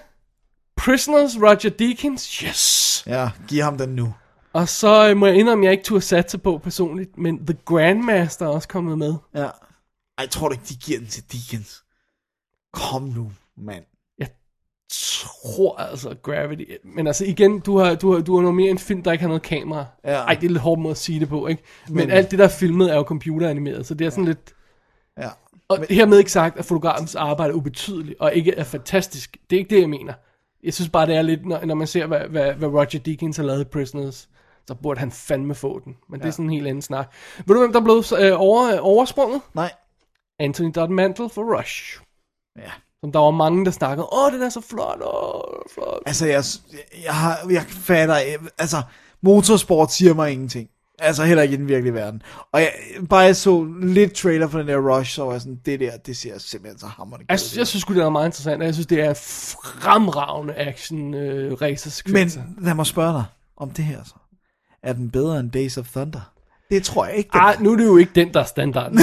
D: Prisoners, Roger Deakins. Yes!
C: ja, giv ham den nu.
D: Og så uh, må jeg indrømme, at jeg ikke turde satse på personligt, men The Grandmaster er også kommet med.
C: Ja. Ej, jeg tror du ikke, de giver den til Deakins? Kom nu, mand.
D: Tror altså Gravity. Men altså igen, du har, du har, du har normeret en film, der ikke har noget kamera.
C: Ja.
D: Ej, det er lidt hårdt måde at sige det på, ikke? Men,
C: Men-
D: men alt det, der er filmet, er jo computeranimeret, så det er sådan ja. lidt...
C: Ja.
D: Og men... hermed ikke sagt, at fotografens arbejde er ubetydeligt og ikke er fantastisk. Det er ikke det, jeg mener. Jeg synes bare, det er lidt, når, når man ser, hvad, hvad, hvad Roger Deakins har lavet i Prisoners, så burde han fandme få den. Men ja. det er sådan en helt anden snak. Ved du, hvem der blev øh, over, øh, oversprunget?
C: Nej.
D: Anthony Dodd Mantle for Rush.
C: Ja.
D: Som der var mange, der snakkede, åh, den er så flot, åh, flot.
C: Altså, jeg, jeg, har, jeg fatter... Jeg, altså, motorsport siger mig ingenting. Altså, heller ikke i den virkelige verden. Og jeg, bare jeg så lidt trailer for den der Rush, så var jeg sådan, det der, det ser simpelthen så hammerende
D: Altså,
C: kedeligt
D: Jeg,
C: ud.
D: sy- jeg synes sgu, det er meget interessant, og jeg synes, det er fremragende action øh, racer
C: Men lad mig spørge dig om det her så. Er den bedre end Days of Thunder? Det tror jeg ikke. Den.
D: Ah, nu er det jo ikke den, der er standarden.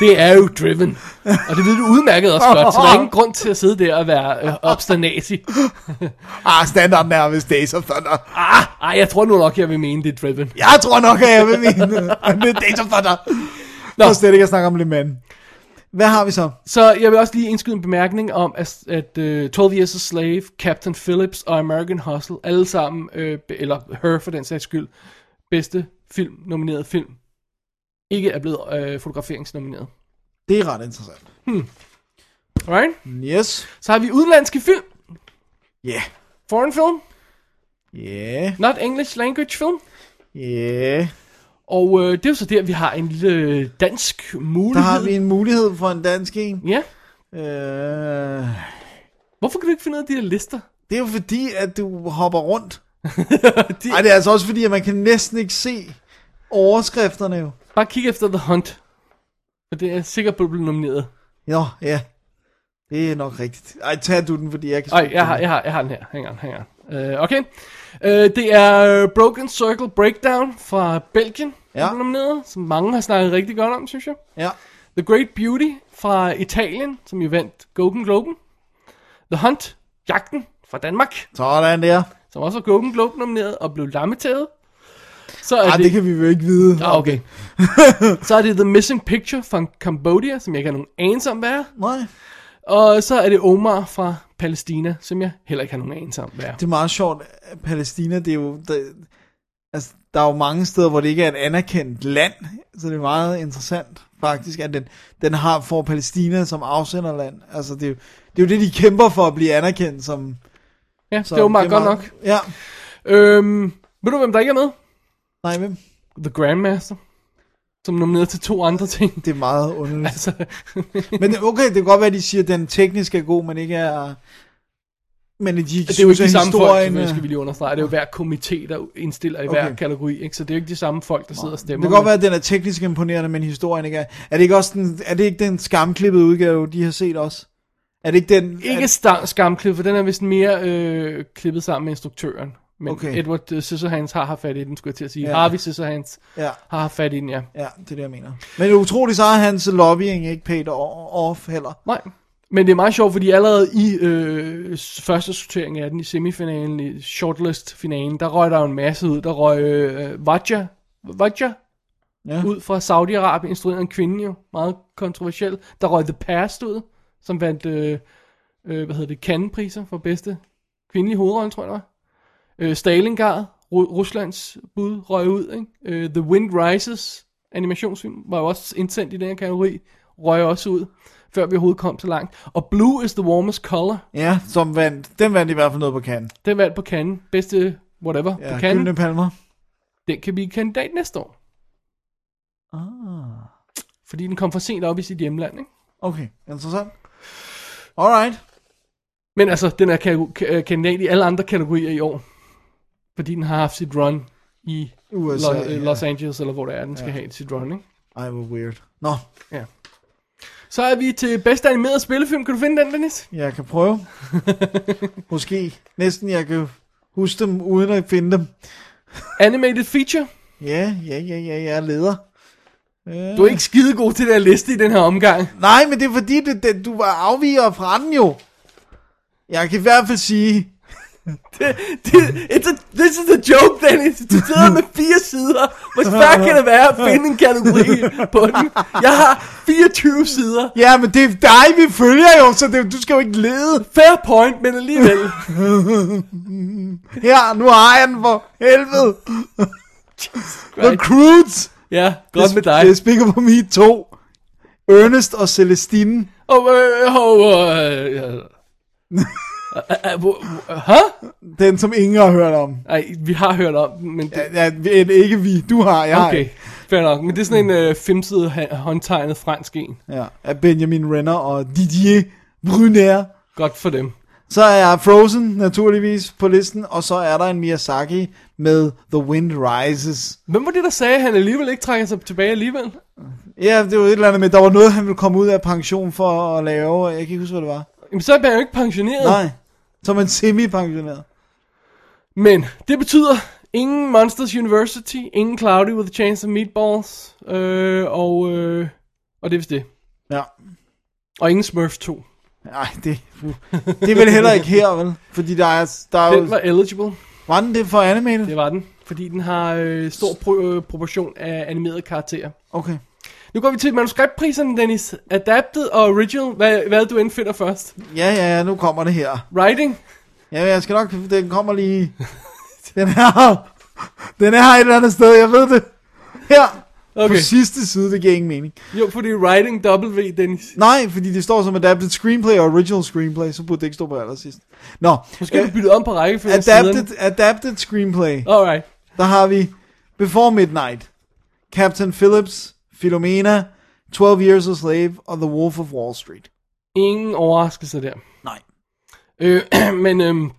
D: det er jo Driven. Og det ved du udmærket også godt, så der er ingen grund til at sidde der og være øh, obstinati.
C: Ah, standarden er vist Days of Thunder.
D: Ah, ah, jeg tror nu nok, jeg vil mene, det er Driven.
C: Jeg tror nok, at jeg vil
D: [laughs]
C: mene det. er Days of Thunder. Nå.
D: Nå.
C: For slet ikke at snakke om Le Mans. Hvad har vi så?
D: Så jeg vil også lige indskyde en bemærkning om, at, at uh, 12 Years a Slave, Captain Phillips og American Hustle, alle sammen, øh, be- eller Her for den sags skyld, bedste film, nomineret film, ikke er blevet øh, fotograferingsnomineret.
C: Det er ret interessant.
D: Alright?
C: Yes.
D: Så har vi udenlandske film,
C: Ja.
D: foreign film,
C: Ja.
D: not English language film,
C: Ja.
D: og øh, det er jo så der, vi har en lille øh, dansk mulighed.
C: Der har vi en mulighed for en dansk en.
D: Ja.
C: Øh,
D: Hvorfor kan du ikke finde ud af de her lister?
C: det er jo fordi, at du hopper rundt.
D: De,
C: Nej, det er altså også fordi, at man kan næsten ikke se overskrifterne jo.
D: Bare kig efter The Hunt. For det er jeg sikker på, at blive nomineret.
C: Nå, ja. Det er nok rigtigt. Ej, tag du den, fordi jeg kan...
D: Ej, jeg har, jeg har, jeg har den her. Hang on, hang on. Uh, okay. Uh, det er Broken Circle Breakdown fra Belgien.
C: Ja.
D: der er Nomineret, som mange har snakket rigtig godt om, synes jeg.
C: Ja.
D: The Great Beauty fra Italien, som jo vandt Golden Globen. The Hunt, Jagten fra Danmark,
C: Sådan der.
D: som også var Golden Globe nomineret og blev lammetævet. Så er
C: Ej, det kan vi jo ikke vide.
D: Ah, okay. [laughs] så er det The Missing Picture fra Cambodia, som jeg ikke har nogen anelse om, hvad er.
C: Nej.
D: Og så er det Omar fra Palæstina, som jeg heller ikke har nogen anelse om, hvad er.
C: Det er meget sjovt. at Palæstina, det er jo... Der, altså, der er jo mange steder, hvor det ikke er et anerkendt land. Så det er meget interessant, faktisk, at den, den har for Palæstina som afsenderland. Altså, det er, jo, det er jo det, de kæmper for at blive anerkendt som...
D: Ja,
C: Så
D: det var meget
C: er
D: godt nok.
C: Ja.
D: Øhm, ved du, hvem der ikke er med?
C: Nej, hvem?
D: The Grandmaster, som er nomineret til to andre ting. [laughs]
C: Det er meget underligt.
D: Altså,
C: Men okay, det kan godt være, at de siger, at den teknisk er god, men ikke er... Men at de
D: det er jo ikke de
C: at
D: samme folk,
C: historien
D: selvfølgelig, skal
C: er-
D: vi lige understrege. Det er jo hver komité, der indstiller i hver
C: Okay.
D: kategori, ikke? så det er jo ikke de samme folk, der sidder og
C: Det
D: stemmer.
C: kan godt være, at den er teknisk imponerende, men historien ikke er... Er det ikke, også den, er det ikke den skamklippede udgave, de har set også? Er det ikke den...
D: Ikke
C: er,
D: sta- skamklippet, for den er vist mere øh, klippet sammen med instruktøren. Men
C: Okay.
D: okay. Edward øh, Scissorhands har haft fat i den, skulle jeg til at sige.
C: Ja.
D: Ja. Harvey Scissorhands
C: ja,
D: har haft fat i den, ja.
C: ja, det er det, jeg mener. Men det er utroligt, så har hans lobbying ikke paid o- off heller.
D: Nej. Men det er meget sjovt, fordi allerede i øh, s- første sortering af den, i semifinalen, i shortlist-finalen, der røg der jo en masse ud. Der røg øh, Vajja, Vajja
C: Ja.
D: ja. ud fra Saudi-Arabien, instrueret af en kvinde jo, meget kontroversiel. Der røg The Past ud, som vandt, øh, øh, hvad hedder det, Cannes-priser for bedste kvindelige hovedrolle, tror jeg det var. Øh, Stalingrad, Ru- Ruslands bud, røg ud, ikke? Øh, The Wind Rises, animationsfilm, var jo også indsendt i den her kategori, røg også ud, før vi overhovedet kom så langt. Og Blue is the Warmest Color,
C: Ja, som vandt. Den vandt i hvert fald noget på kan.
D: den vandt på Cannes, bedste whatever ja,
C: Ja,
D: på
C: Gyldne
D: Cannes.
C: Palmer.
D: Den kan blive kandidat næste år,
C: Ah,
D: fordi den kom for sent op i sit hjemland, ikke?
C: okay. Interessant. Alright.
D: Men altså, den er kate- ka- øh, kandidat i alle andre kategorier i år. Fordi den har haft sit run i
C: USA.
D: Los, øh,
C: ja.
D: Los Angeles, eller hvor det er, den skal have sit run, ikke?
C: Ej, hvor weird. Nå,
D: Så er vi til bedste animeret spillefilm. Kan du finde den, Dennis?
C: jeg kan
D: [laughs]
C: prøve. Måske. Næsten, jeg kan huske dem, uden at finde dem.
D: Animated feature.
C: Ja, ja, ja, ja, jeg er leder.
D: Du er ikke skide god til den her liste i den her omgang.
C: Nej, men det er fordi, det, det, du var afviger fra den jo. Jeg kan i hvert fald sige,
D: Det, det, it's a, this is a joke, Dennis. Du sidder med fire sider. Hvor svært kan det være at finde en kategori på den? Jeg har 24 sider.
C: ja, men det er dig, vi følger jo, så det, du skal jo ikke lede.
D: Fair point, men alligevel.
C: Her, nu har jeg den for helvede. The Croods.
D: Ja, godt med dig.
C: Det er Speaker på Me 2. Ernest og Celestine.
D: Og, øh, og, øh, øh, øh, øh, hvor- hvor- Hæ?
C: Den, som ingen har hørt om.
D: Ej, vi har hørt om den, men det,
C: Ja, ja, ikke vi, du har, jeg har
D: okay,
C: ikke.
D: fair nok. Men det er sådan en øh, femsidet ha- håndtegnet fransk en.
C: Ja, af Benjamin Renner og Didier Brunner.
D: Godt for dem.
C: Så er Frozen naturligvis på listen, og så er der en Miyazaki med The Wind Rises.
D: Hvem var det, der sagde, at han alligevel ikke trækker sig tilbage alligevel?
C: Ja, det var et eller andet med, der var noget, han ville komme ud af pension for at lave, jeg kan ikke huske, hvad det var.
D: Jamen, så er han jo ikke pensioneret.
C: Nej, som en semi-pensioneret.
D: Men det betyder Ingen Monsters University, ingen Cloudy with a Chance of Meatballs, øh, og, øh, og det er vist det.
C: Ja.
D: Og ingen Smurfs 2.
C: Nej, det, puh. det er vel heller ikke her, vel? Fordi der er, der er jo...
D: Den var eligible,
C: Var den det for animated?
D: det var den, fordi den har øh, stor pro- øh, proportion af animerede karakterer.
C: Okay.
D: Nu går vi til manuskriptpriserne, Dennis. Adapted og original, hvad, hvad du end finder først.
C: Ja, ja, ja, nu kommer det her.
D: Writing,
C: Ja, jeg skal nok... Den kommer lige... Den er... Den er et eller andet sted, jeg ved det. Her. Okay. På
D: Okay.
C: sidste side, det giver ingen mening.
D: jo fordi writing W, Dennis.
C: Nej, fordi det står som adapted screenplay og original screenplay, så burde det ikke stå på allersidst. Nå,
D: Måske
C: øh,
D: du bytte om på rækkefølgen af siderne.
C: adapted, adapted screenplay.
D: Alright.
C: Der har vi Before Midnight, Captain Phillips, Philomena, 12 Years a Slave og The Wolf of Wall Street.
D: Ingen overraskelse der.
C: Nej.
D: Øh, [clears throat] men øhm,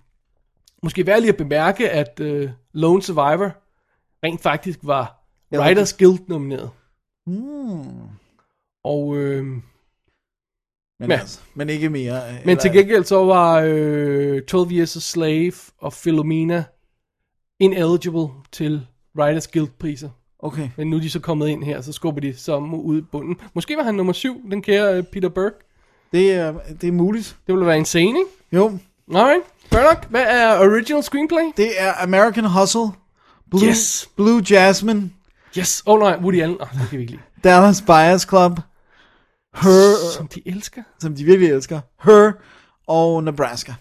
D: måske værd lige at bemærke, at øh, Lone Survivor rent faktisk var
C: Ja,
D: Writers Guild nomineret.
C: Hmm.
D: Og, øh, men
C: Men,
D: Ja.
C: altså, men ikke mere. Men
D: til gengæld så var øh, 12 Years a Slave og Philomena ineligible til Writers Guild priser.
C: Okay.
D: Men nu er de så kommet ind her, så skubber de så ud i bunden. Måske var han nummer syv, den kære øh, Peter Burke.
C: Det er, det er muligt.
D: Det ville være insane, ikke?
C: Jo,
D: Alright, fair nok. Hvad er original screenplay?
C: det er American Hustle, Blue,
D: Yes.
C: Blue Jasmine,
D: Yes, åh oh, nej, Woody Allen. Oh, det kan vi ikke lide.
C: Dallas Buyers Club, Her,
D: Som de elsker.
C: som de virkelig elsker, Her og Nebraska.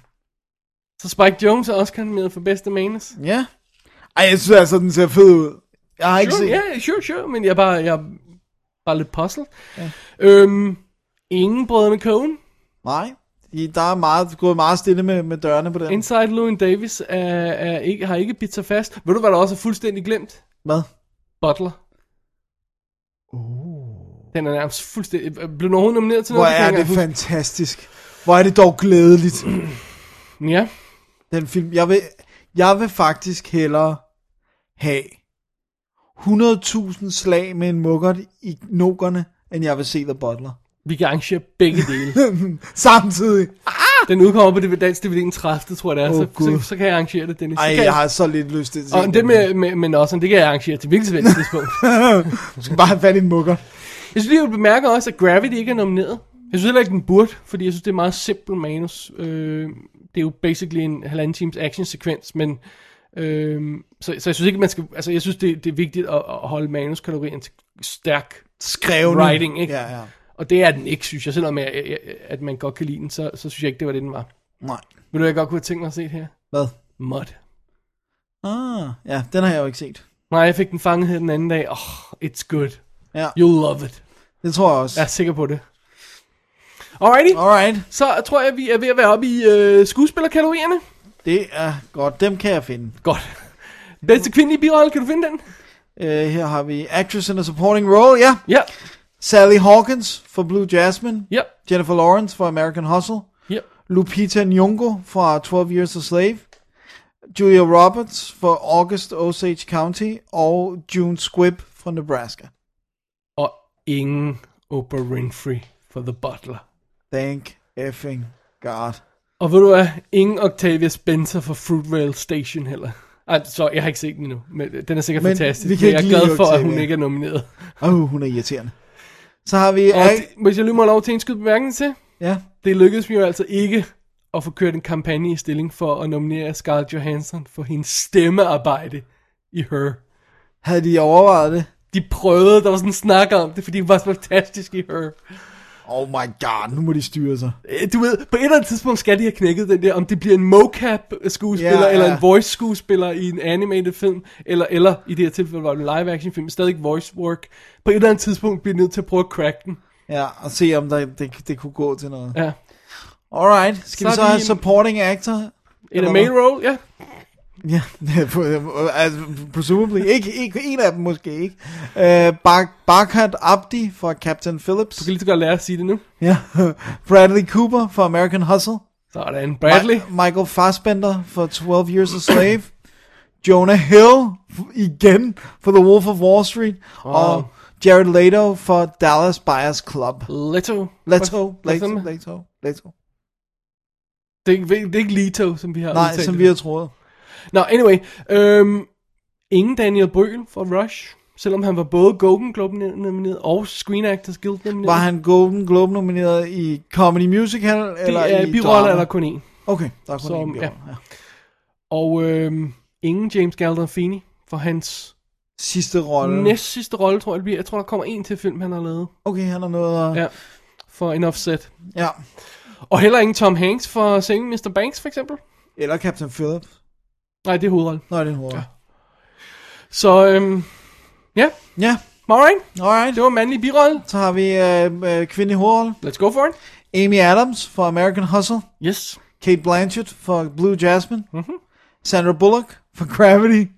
D: Så Spike Jones er også kandidat for bedste manus.
C: Ja. Ej, jeg synes altså, den ser fed ud. Jeg har ikke
D: Sure,
C: set...
D: ja, yeah, sure, sure, men jeg er bare, jeg er bare lidt puzzled. Yeah. Øhm, ingen brødrene Cohen.
C: Nej. De- Der er meget, gået meget stille med, med dørene på den.
D: Inside Llewyn Davis er, er ikke, har ikke bidt sig fast. Ved du, hvad der også er fuldstændig glemt?
C: Hvad?
D: Butler. Oh. Den er nærmest fuldstændig... øh, Blev nogen nomineret til
C: Hvor
D: noget?
C: er
D: kan jeg
C: det
D: ikke engang
C: fantastisk. Hvor er det dog glædeligt,
D: huske. Ja.
C: den film. Jeg vil, jeg vil faktisk hellere have 100.000 slag med en mukkert i nokerne, end jeg vil se The Butler.
D: Vi kan arrangere begge
C: [laughs]
D: dele.
C: Samtidig.
D: Den udkommer på det dansk DVD den 30, tror jeg det er.
C: Åh,
D: Oh, så,
C: Gud.
D: så, så, kan jeg arrangere det, Dennis. Så
C: Ej,
D: kan
C: jeg har så lidt lyst til at se
D: Og det
C: den.
D: med, med, med Nossen, det kan jeg arrangere til hvilket som helst tidspunkt.
C: [laughs] Du skal bare have fat i en mukker.
D: Jeg synes lige, jeg bemærker også, at Gravity ikke er nomineret. Jeg synes heller ikke, den burde, fordi jeg synes, det er meget simpel manus. Øh, det er jo basically en halvanden times actionsekvens, men... Øh, så, så jeg synes ikke, man skal... Altså, jeg synes, det, det er vigtigt at, at holde manuskategorien til stærk.
C: Skrevne.
D: Writing, ikke?
C: Ja, ja.
D: Og det er den ikke, synes jeg. Selvom jeg, jeg, jeg- at man godt kan lide den, så, så synes jeg ikke, det var det, den var.
C: Nej.
D: Vil du, hvad jeg godt kunne have tænkt mig at se her?
C: Hvad?
D: Mud.
C: Ah, ja, den har jeg jo ikke set.
D: Nej, jeg fik den fanget her den anden dag. Oh, it's good.
C: Ja.
D: You'll love it.
C: Det tror jeg også.
D: Jeg er sikker på det. Alrighty.
C: Alright,
D: Så tror jeg, vi er ved at være oppe i øh, skuespillerkategorierne.
C: det er godt. Dem kan jeg finde.
D: Godt. Bedste kvindelige birolle, kan du finde den?
C: Uh, her har vi Actress in a Supporting Role, ja.
D: Ja,
C: Sally Hawkins for Blue Jasmine.
D: ja,
C: Jennifer Lawrence for American Hustle.
D: ja.
C: Lupita Nyong'o fra 12 Years a Slave. Julia Roberts for August Osage County. Og June Squibb fra Nebraska.
D: Og ingen Oprah Winfrey for The Butler.
C: Thank effing God.
D: Og ved du hvad, ingen Octavia Spencer for Fruitvale Station heller. Ej, så jeg har ikke set den endnu, men øh, den er sikkert
C: Men
D: fantastisk.
C: vi kan
D: men jeg
C: ikke
D: er glad
C: lide
D: for, at
C: Octavia.
D: hun ikke er nomineret.
C: Åh, oh, hun er irriterende. Så har vi...
D: Og
C: Ag-
D: det, hvis jeg lige må have lov til en skud bemærkning til,
C: ja,
D: det lykkedes mig jo altså ikke at få kørt en kampagne i stilling for at nominere Scarlett Johansson for hendes stemmearbejde i Her.
C: havde de overvejet det?
D: de prøvede, der var sådan en snak om det, fordi det var så fantastisk i Her.
C: Oh my god, nu må de styre sig.
D: Øh, Du ved, på et eller andet tidspunkt skal de have knækket den der, om det bliver en mocap-skuespiller,
C: Ja,
D: yeah,
C: ja.
D: eller en voice-skuespiller i en animated film, eller, eller i det her tilfælde var det en live-action film, stadig voice work. På et eller andet tidspunkt bliver de nødt til at prøve at crack den.
C: Ja, og se om der, det, det kunne gå til noget.
D: Ja.
C: Alright, skal
D: Så
C: vi så
D: er vi-
C: have supporting actor?
D: Eller
C: Eller
D: main role, ja.
C: Ja, [laughs] altså, presumably. Ikke, ikke, en af dem måske ikke. Uh, Bar- Barkat Abdi fra Captain
D: Du
C: Phillips.
D: kan lige så godt lære at sige det nu.
C: Ja. [laughs] Bradley Cooper fra American Hustle.
D: Sådan, Bradley.
C: Mi- Michael Fassbender for 12 Years a Slave. [clears throat] Jonah Hill f- igen for The Wolf of Wall Street. Wow. Og Jared Leto for Dallas Buyers Club.
D: Leto.
C: Leto,
D: Leto.
C: Leto, Leto, Leto.
D: Det er, ikke, det er ikke Leto, som vi har
C: Nej,
D: udtalt
C: som
D: det.
C: vi har troet.
D: Nå, anyway. Øhm, Ingen Daniel Brühl fra Rush, selvom han var både Golden Globe nomineret og Screen Actors Guild nomineret.
C: Var han Golden Globe nomineret i Comedy Musical? Det eller
D: det er
C: i
D: biroller
C: drama?
D: eller kun en.
C: Okay, der er kun
D: Som-
C: en birolle. Ja.
D: Og øhm, ingen James Gandolfini for hans
C: Sidste rolle.
D: næst sidste rolle, tror jeg det bliver. Jeg tror, der kommer en til film, han har lavet
C: Okay, han har noget at... Ja.
D: Ja. for en offset.
C: ja.
D: Og heller ingen Tom Hanks for Saving Mr. Banks, for eksempel.
C: Eller Captain Phillips.
D: Nej, det er hovedrollen.
C: Nå, det er hovedet. Ja.
D: Så øhm, ja,
C: ja.
D: alright.
C: Alright.
D: Det var mandlig birolle.
C: Så har vi øh, øh, kvinde i hovedrollen.
D: Let's go for it.
C: Amy Adams for American Hustle.
D: Yes.
C: Kate Blanchett for Blue Jasmine. Mm-hmm. Sandra Bullock for Gravity.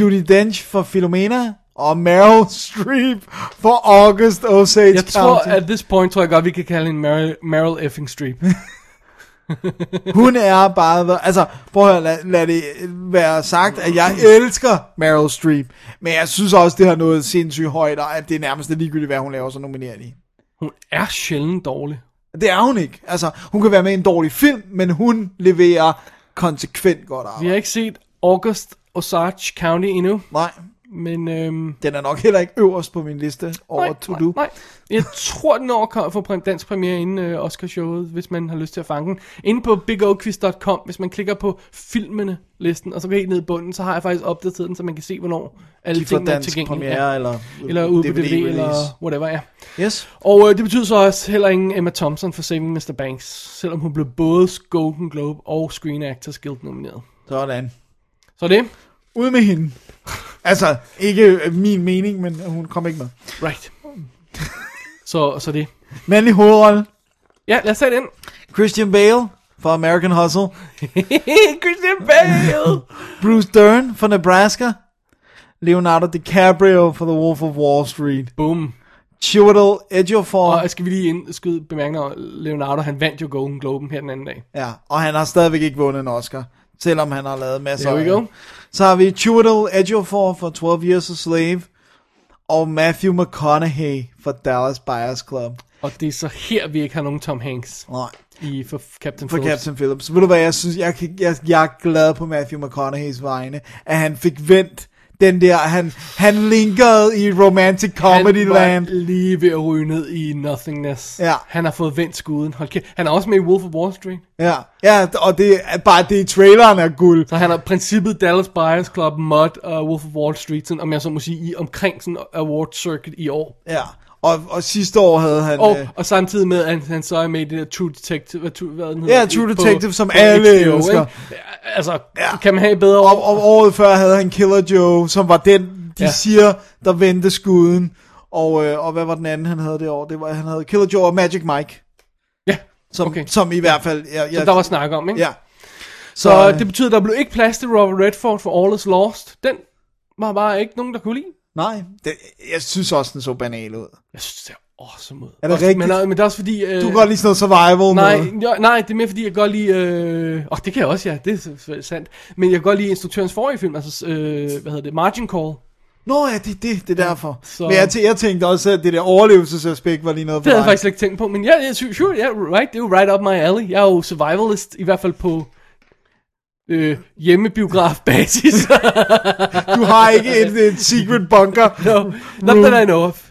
C: Judy Dench for Philomena. Og Meryl [laughs] Streep for August Osage
D: Jeg tror,
C: County.
D: at this point, tror jeg godt, vi kan kalde hende Meryl, Meryl
C: [laughs]
D: effing Streep.
C: Hun er bare... the- Altså, prøv at høre, lad, lad det øh, være sagt, at jeg elsker Meryl Streep. Men jeg synes også, det har noget sindssygt højt, og at det er nærmest ligegyldigt, hvad hun laver, så nominerer de.
D: Hun er sjældent dårlig.
C: Det er hun ikke. Altså, hun kan være med i en dårlig film, men hun leverer konsekvent godt
D: Vi
C: arbejde.
D: har ikke set August Osage County endnu,
C: Nej,
D: men... Øhm,
C: den er nok heller ikke øverst på min liste over
D: nej,
C: to do.
D: Nej, nej. Jeg tror, den overkommer for pre- dansk premiere inden øh, Oscarshowet, hvis man har lyst til at fange den. Inde på bigoquiz.com, hvis man klikker på filmene-listen, og så går helt ned i bunden, så har jeg faktisk opdateret den, så man kan se, hvornår alle
C: De får
D: tingene er
C: dansk
D: tilgængelige.
C: premiere,
D: Ja.
C: eller,
D: Eller ude på DVD,
C: DVD-release.
D: eller whatever, ja.
C: Yes.
D: Og øh, det betyder så også heller ingen Emma Thompson for Saving Mr. Banks, selvom hun blev både Golden Globe og Screen Actors Guild nomineret.
C: Sådan.
D: Så det,
C: Ud med hende. Altså, ikke øh, min mening, men hun kom ikke med.
D: [laughs] right. så, så det.
C: Mandlig hovedrolle.
D: Ja, lad os tage den.
C: Christian Bale for American Hustle.
D: [laughs] Christian Bale!
C: Bruce Dern for Nebraska. Leonardo DiCaprio for The Wolf of Wall Street.
D: Boom.
C: Chiwetel Ejiofor.
D: Og jeg skal vi lige indskyde bemærkninger, Leonardo han vandt jo Golden Globen her den anden dag.
C: Ja, og han har stadigvæk ikke vundet en Oscar, selvom han har lavet masser
D: There we
C: af-
D: go.
C: Så har vi Chiwetel Ejiofor for 12 Years a Slave, og Matthew McConaughey for Dallas Buyers Club.
D: Og det er så her, vi ikke har nogen Tom Hanks
C: Nej,
D: i for Captain
C: for
D: Phillips.
C: Captain Phillips. Ved du hvad, jeg synes, jeg, kan- jeg, jeg er glad på Matthew McConaugheys vegne, at han fik vendt den der, han, han linkede i Romantic Comedy
D: han var
C: Land.
D: lige ved at ryge ned i nothingness.
C: Ja.
D: Han har fået vendt skuden. Hold kæft. Han er også med i Wolf of Wall Street.
C: Ja, ja, og det er bare det i traileren er guld.
D: Så han har princippet Dallas Buyers Club, Mud og Wolf of Wall Street, sådan, om jeg så må sige, i, omkring sådan award circuit i år.
C: Ja, og, og sidste år havde han...
D: Og,
C: øh,
D: og samtidig med, at han, han så er med i det der True Detective, hvad, True- hvad den hedder,
C: Ja, True Detective, som alle elsker.
D: ikke? Altså,
C: Ja.
D: ja. kan man have et bedre
C: Og, og året før havde han Killer Joe, som var den, de ja.
D: Ja.
C: siger, der vendte skuden. Og, øh, og hvad var den anden, han havde det år? Det var, han havde Killer Joe og Magic Mike.
D: Ja,
C: Som,
D: Okay.
C: som i hvert fald... Ja, ja,
D: som der var snak om, ikke?
C: ja.
D: Så
C: øh,
D: øh, det betyder, at der blev ikke plads til Robert Redford for All is Lost. Den var bare ikke nogen, der kunne lide.
C: Nej, det, jeg synes også, den så banal ud.
D: Jeg synes, det ser awesome ud.
C: Er det
D: Også-
C: rigtigt?
D: Men, øh, men det er også fordi... Øh,
C: Du kan godt lige sådan noget survival
D: Nej,
C: Noget.
D: jo, nej, det er mere fordi, jeg kan godt lide... Øh, åh, det kan jeg også, ja. Det er selvfølgelig sandt. Men jeg kan godt lide instruktørens forrige film, altså, øh, hvad hedder det, Margin Call.
C: Nå ja, det, det, det er derfor.
D: så-
C: Men jeg, tæ- jeg tænkte også, at det der overlevelsesaspekt var lige noget for
D: Det havde jeg
C: mig.
D: faktisk slet ikke tænkt på, men ja, jeg synes, sure, yeah, right, det er jo right up my alley. Jeg er jo survivalist, i hvert fald på øh,
C: [laughs]
D: hjemmebiografbasis. [laughs]
C: Du har ikke et, et secret bunker.
D: no, not that I know of.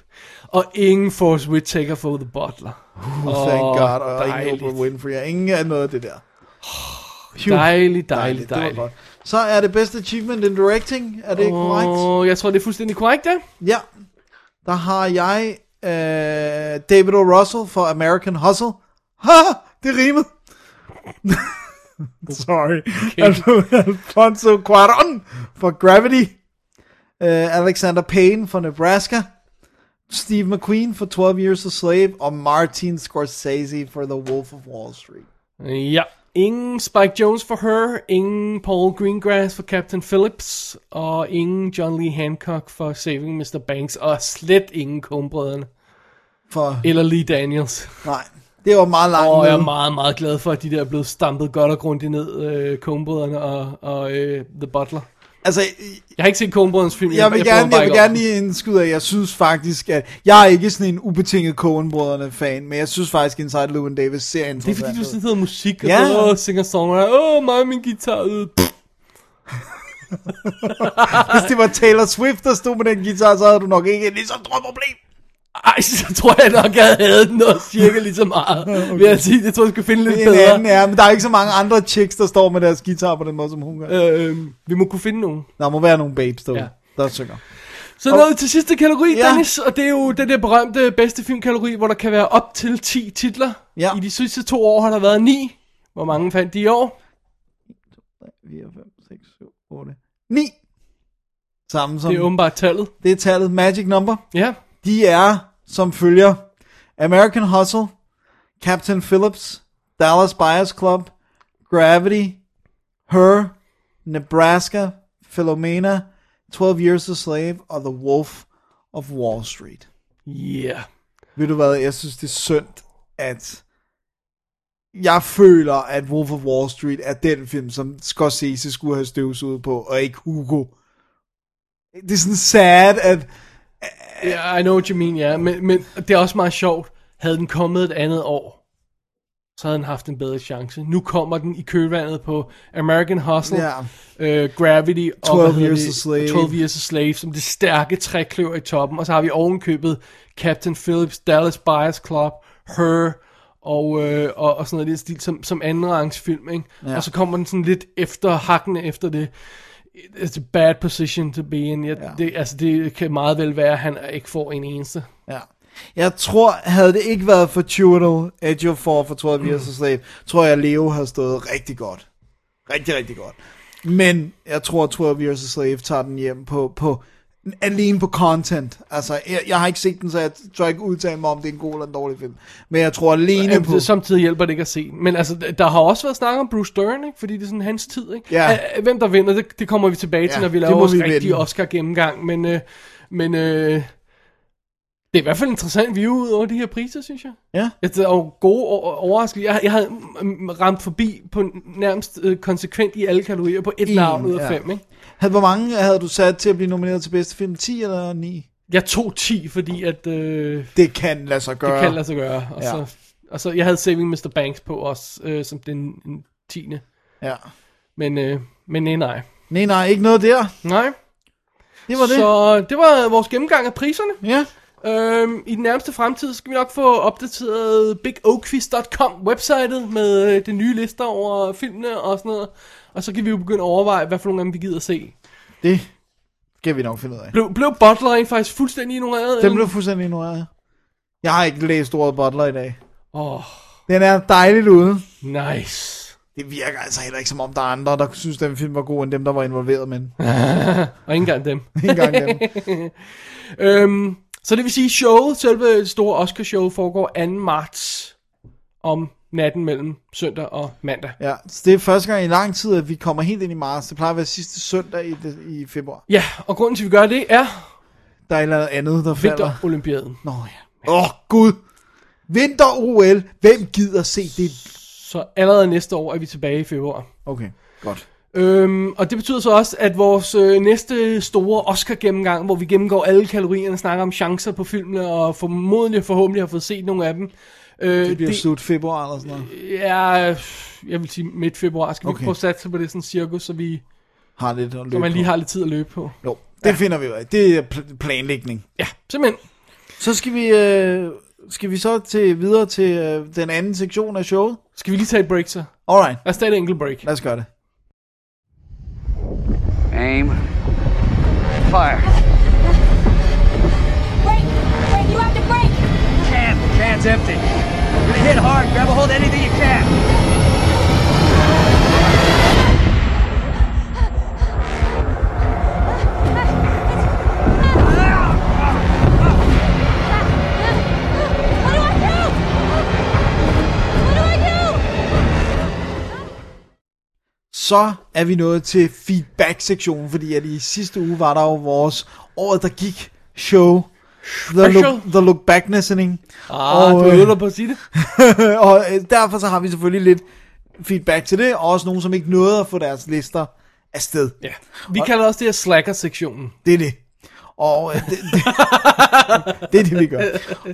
D: Og ingen Force Whitaker for The Butler.
C: Oh, thank
D: Åh,
C: God. Og dejligt.
D: dejligt.
C: ingen Oprah Winfrey. og Ingen af noget af det der. Phew.
D: Dejlig, dejlig,
C: det var
D: dejlig.
C: godt. Så er det bedste achievement in directing. Er det ikke korrekt?
D: Og jeg tror, det er fuldstændig korrekt, ja.
C: Ja. Der har jeg øh, David O. Russell for American Hustle. Ha! Det rimede. [laughs] Sorry. Okay. [laughs] Alfonso Cuarón for Gravity. Uh, Alexander Payne for Nebraska. Steve McQueen for 12 Years a Slave. Og Martin Scorsese for The Wolf of Wall Street.
D: Ja. Ingen Spike Jones for Her, ingen Paul Greengrass for Captain Phillips, og ingen John Lee Hancock for Saving Mr. Banks, og slet ingen Kumbrødrene.
C: For,
D: Eller Lee Daniels.
C: nej, det var meget langt.
D: Og jeg er
C: nede.
D: meget, meget glad for, at de der er blevet stampet godt og grundigt ned, øh, Kumbrødrene og, og øh, The Butler.
C: altså,
D: Jeg har ikke set Kumbrødrenes film,
C: jeg vil,
D: prøver
C: gerne,
D: bare
C: jeg vil
D: ikke over
C: gerne lige indskyde, at jeg synes faktisk, at jeg er ikke sådan en ubetinget coen fan men jeg synes faktisk, Inside Llewyn Davis ser
D: Det er fordi,
C: interessant
D: du
C: ud.
D: sidder musik, og
C: Ja.
D: ja. åh, singer songwriter åh, mig og min guitar, øh, pff."
C: Hvis det var Taylor Swift, der stod med den guitar, så havde du nok ikke et lige så stort problem.
D: Ej, så tror jeg nok, jeg havde den noget cirka lige så meget. okay. Vil jeg sige, det tror jeg, jeg skulle finde lidt
C: En
D: bedre.
C: anden er, men der er ikke så mange andre chicks, der står med deres guitar på den måde, som hun gør.
D: Øh, vi må kunne finde nogen.
C: Der må være nogle babes derude,
D: Ja.
C: ja. der synger.
D: Så nåede vi til sidste kategori,
C: Ja.
D: ja. Dennis, og det er jo den der berømte bedste filmkategori, hvor der kan være op til 10 titler.
C: Ja.
D: I de sidste to år har der været 9. Hvor mange fandt de i år?
C: 4, 5, 6, 7, 8, 9. Samme som,
D: Det er åbenbart tallet.
C: det er tallet magic number.
D: Ja.
C: De er, som følger, American Hustle, Captain Phillips, Dallas Buyers Club, Gravity, Her, Nebraska, Philomena, 12 Years a Slave og The Wolf of Wall Street.
D: Yeah.
C: Ved du hvad, jeg synes det er synd, at jeg føler, at Wolf of Wall Street er den film, som Scorsese skulle have støvsuget på, og ikke Hugo. Det er sådan sad, at
D: Yeah, I know what you mean, ja. Men, men det er også meget sjovt. Havde den kommet et andet år, så havde den haft en bedre chance. Nu kommer den i kølvandet på American Hustle,
C: Ja.
D: øh, Gravity
C: 12
D: og hvad hedder
C: Years
D: det?
C: a Slave.
D: 12 Years a Slave, som det stærke trækløver i toppen. Og så har vi ovenkøbet Captain Phillips, Dallas Buyers Club, Her og, øh, og, og sådan noget i den stil, som, som andenrangs film, ikke? Ja. Og så kommer den sådan lidt efter, hakkende efter det. It's a bad position to be in. Jeg, ja. det, altså, det kan meget vel være, at han ikke får en eneste.
C: Ja. Jeg tror, havde det ikke været for Tunnel, Edge of Four for 12
D: Mm.
C: Years a Slave, tror jeg, Leo havde stået rigtig godt. Rigtig, rigtig godt. Men jeg tror, 12 Years a Slave tager den hjem på, på alene på content. Altså, jeg, jeg har ikke set den, så jeg tror ikke udtale mig om, det er en god eller en dårlig film. Men jeg tror alene
D: Jamen,
C: på...
D: det, samtidig hjælper det ikke at se den. Men altså, der har også været snak om Bruce Dern, ikke? fordi det er sådan hans tid. Ikke?
C: Ja.
D: Øh, Hvem der vinder, det, det kommer vi tilbage til,
C: Ja,
D: ja, når vi
C: det
D: laver
C: må
D: vores
C: vi
D: rigtige
C: vende.
D: Oscar-gennemgang. Men, øh, men øh, det er i hvert fald en interessant view ud over de her priser, synes jeg.
C: Ja.
D: Ja, Det er jo gode o- overraskelser. Jeg, jeg havde mm, ramt forbi på nærmest øh, konsekvent i alle kategorier på et
C: En,
D: navn ud af
C: ja.
D: fem. Ikke?
C: Havde, hvor mange havde du sat til at blive nomineret til bedste film? 10 eller 9?
D: Jeg tog 10, fordi at, øh,
C: Det kan lade sig gøre.
D: det kan lade sig gøre. Og,
C: Ja.
D: ja. så, og så, jeg havde Saving Mr. Banks på også, øh, som den, den 10.
C: Ja.
D: Men, øh, men nej, nej.
C: Nej, nej, ikke noget der.
D: Nej.
C: Det var det.
D: Så øh, det var vores gennemgang af priserne.
C: Ja.
D: Øhm, I den nærmeste fremtid skal vi nok få opdateret bigoquiz.com websitet med øh, den nye lister over filmene og sådan noget. Og så kan vi jo begynde at overveje, hvad for nogle af dem vi gider se.
C: Det skal vi nok finde ud af.
D: Blev, blev Butler rent faktisk fuldstændig ignoreret?
C: Den blev fuldstændig ignoreret. Jeg har ikke læst ordet butler i dag.
D: Åh, oh,
C: Den er dejligt ude.
D: nice.
C: Det virker altså heller ikke som om, der er andre, der synes, den film var god, end dem, der var involveret [laughs] med den.
D: Og ikke engang dem.
C: Ikke engang dem.
D: Øhm, så det vil sige, showet, selve det store Oscar-show, foregår 2. marts om natten mellem søndag og mandag.
C: Ja, så det er første gang i lang tid, at vi kommer helt ind i marts. Det plejer at være sidste søndag i, det, i februar.
D: Ja, og grunden til, at vi gør det, er
C: Der er et eller andet, der falder.
D: vinterolympiaden.
C: Nå ja. Åh, oh, Gud. Vinter-OL. Hvem gider se det?
D: Så allerede næste år er vi tilbage i februar.
C: Okay, godt.
D: Øhm, og det betyder så også, at vores øh, næste store Oscar-gennemgang, hvor vi gennemgår alle kalorierne, snakker om chancer på filmene, og formodentlig og forhåbentlig har fået set nogle af dem. Øh,
C: Det bliver det... slut februar eller sådan noget.
D: Ja, øh, jeg vil sige midt februar. Skal vi
C: Okay.
D: okay. prøve at satse på det sådan cirkus, så, vi,
C: Har lidt at løbe
D: så man lige
C: på.
D: har lidt tid at løbe på?
C: Jo, det ja. finder vi ud af. Det er pl- planlægning.
D: Ja, simpelthen.
C: Så skal vi, øh, skal vi så til, videre til øh, den anden sektion af showet.
D: Skal vi lige tage et break så?
C: Alright,
D: Lad os tage et enkelt break.
C: lad os gøre det.
E: Aim. Fire.
F: Break! Break! You have to break!
E: Can. Can's empty. You're gonna hit hard. Grab a hold of anything you can.
F: What do I do? What do I do?
C: Så er vi nået til feedback-sektionen, fordi at i sidste uge var der jo vores året, der gik show. The look, the look back listening.
D: Ah,
C: Og,
D: du
C: øh,
D: øvede dig på at sige
C: [laughs]
D: det.
C: og øh, derfor så har vi selvfølgelig lidt feedback til det, og også nogen, som ikke nåede at få deres lister afsted.
D: Ja. Vi kalder også det her slacker-sektionen.
C: Det er det. Og øh, det, [laughs] det, det er det, vi gør.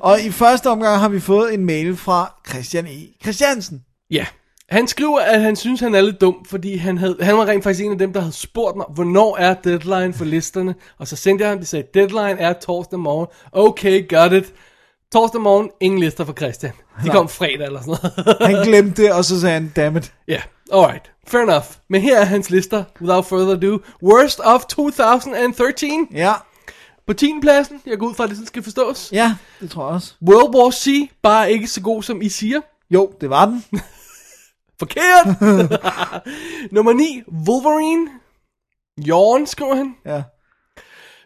C: Og i første omgang har vi fået en mail fra Christian E. Christiansen.
D: Ja. Han skriver, at han synes, han er lidt dum, fordi han, havde, han var rent faktisk en af dem, der havde spurgt mig, hvornår er deadline for listerne? Og så sendte jeg ham, de sagde, deadline er torsdag morgen. Okay, got it. Torsdag morgen, ingen lister for Christian. De kom fredag eller sådan noget. [laughs]
C: Han glemte det, og så sagde han, damn it.
D: Ja, yeah. alright. Fair enough. Men her er hans lister, without further ado. Worst of 2013.
C: Ja,
D: På 10. pladsen, jeg går ud fra, at det sådan skal forstås.
C: ja, det tror jeg også.
D: World War C, bare ikke så god som I siger.
C: Jo, det var den.
D: Forkert! [laughs] nummer 9, Wolverine. Jorn, skriver han.
C: Ja.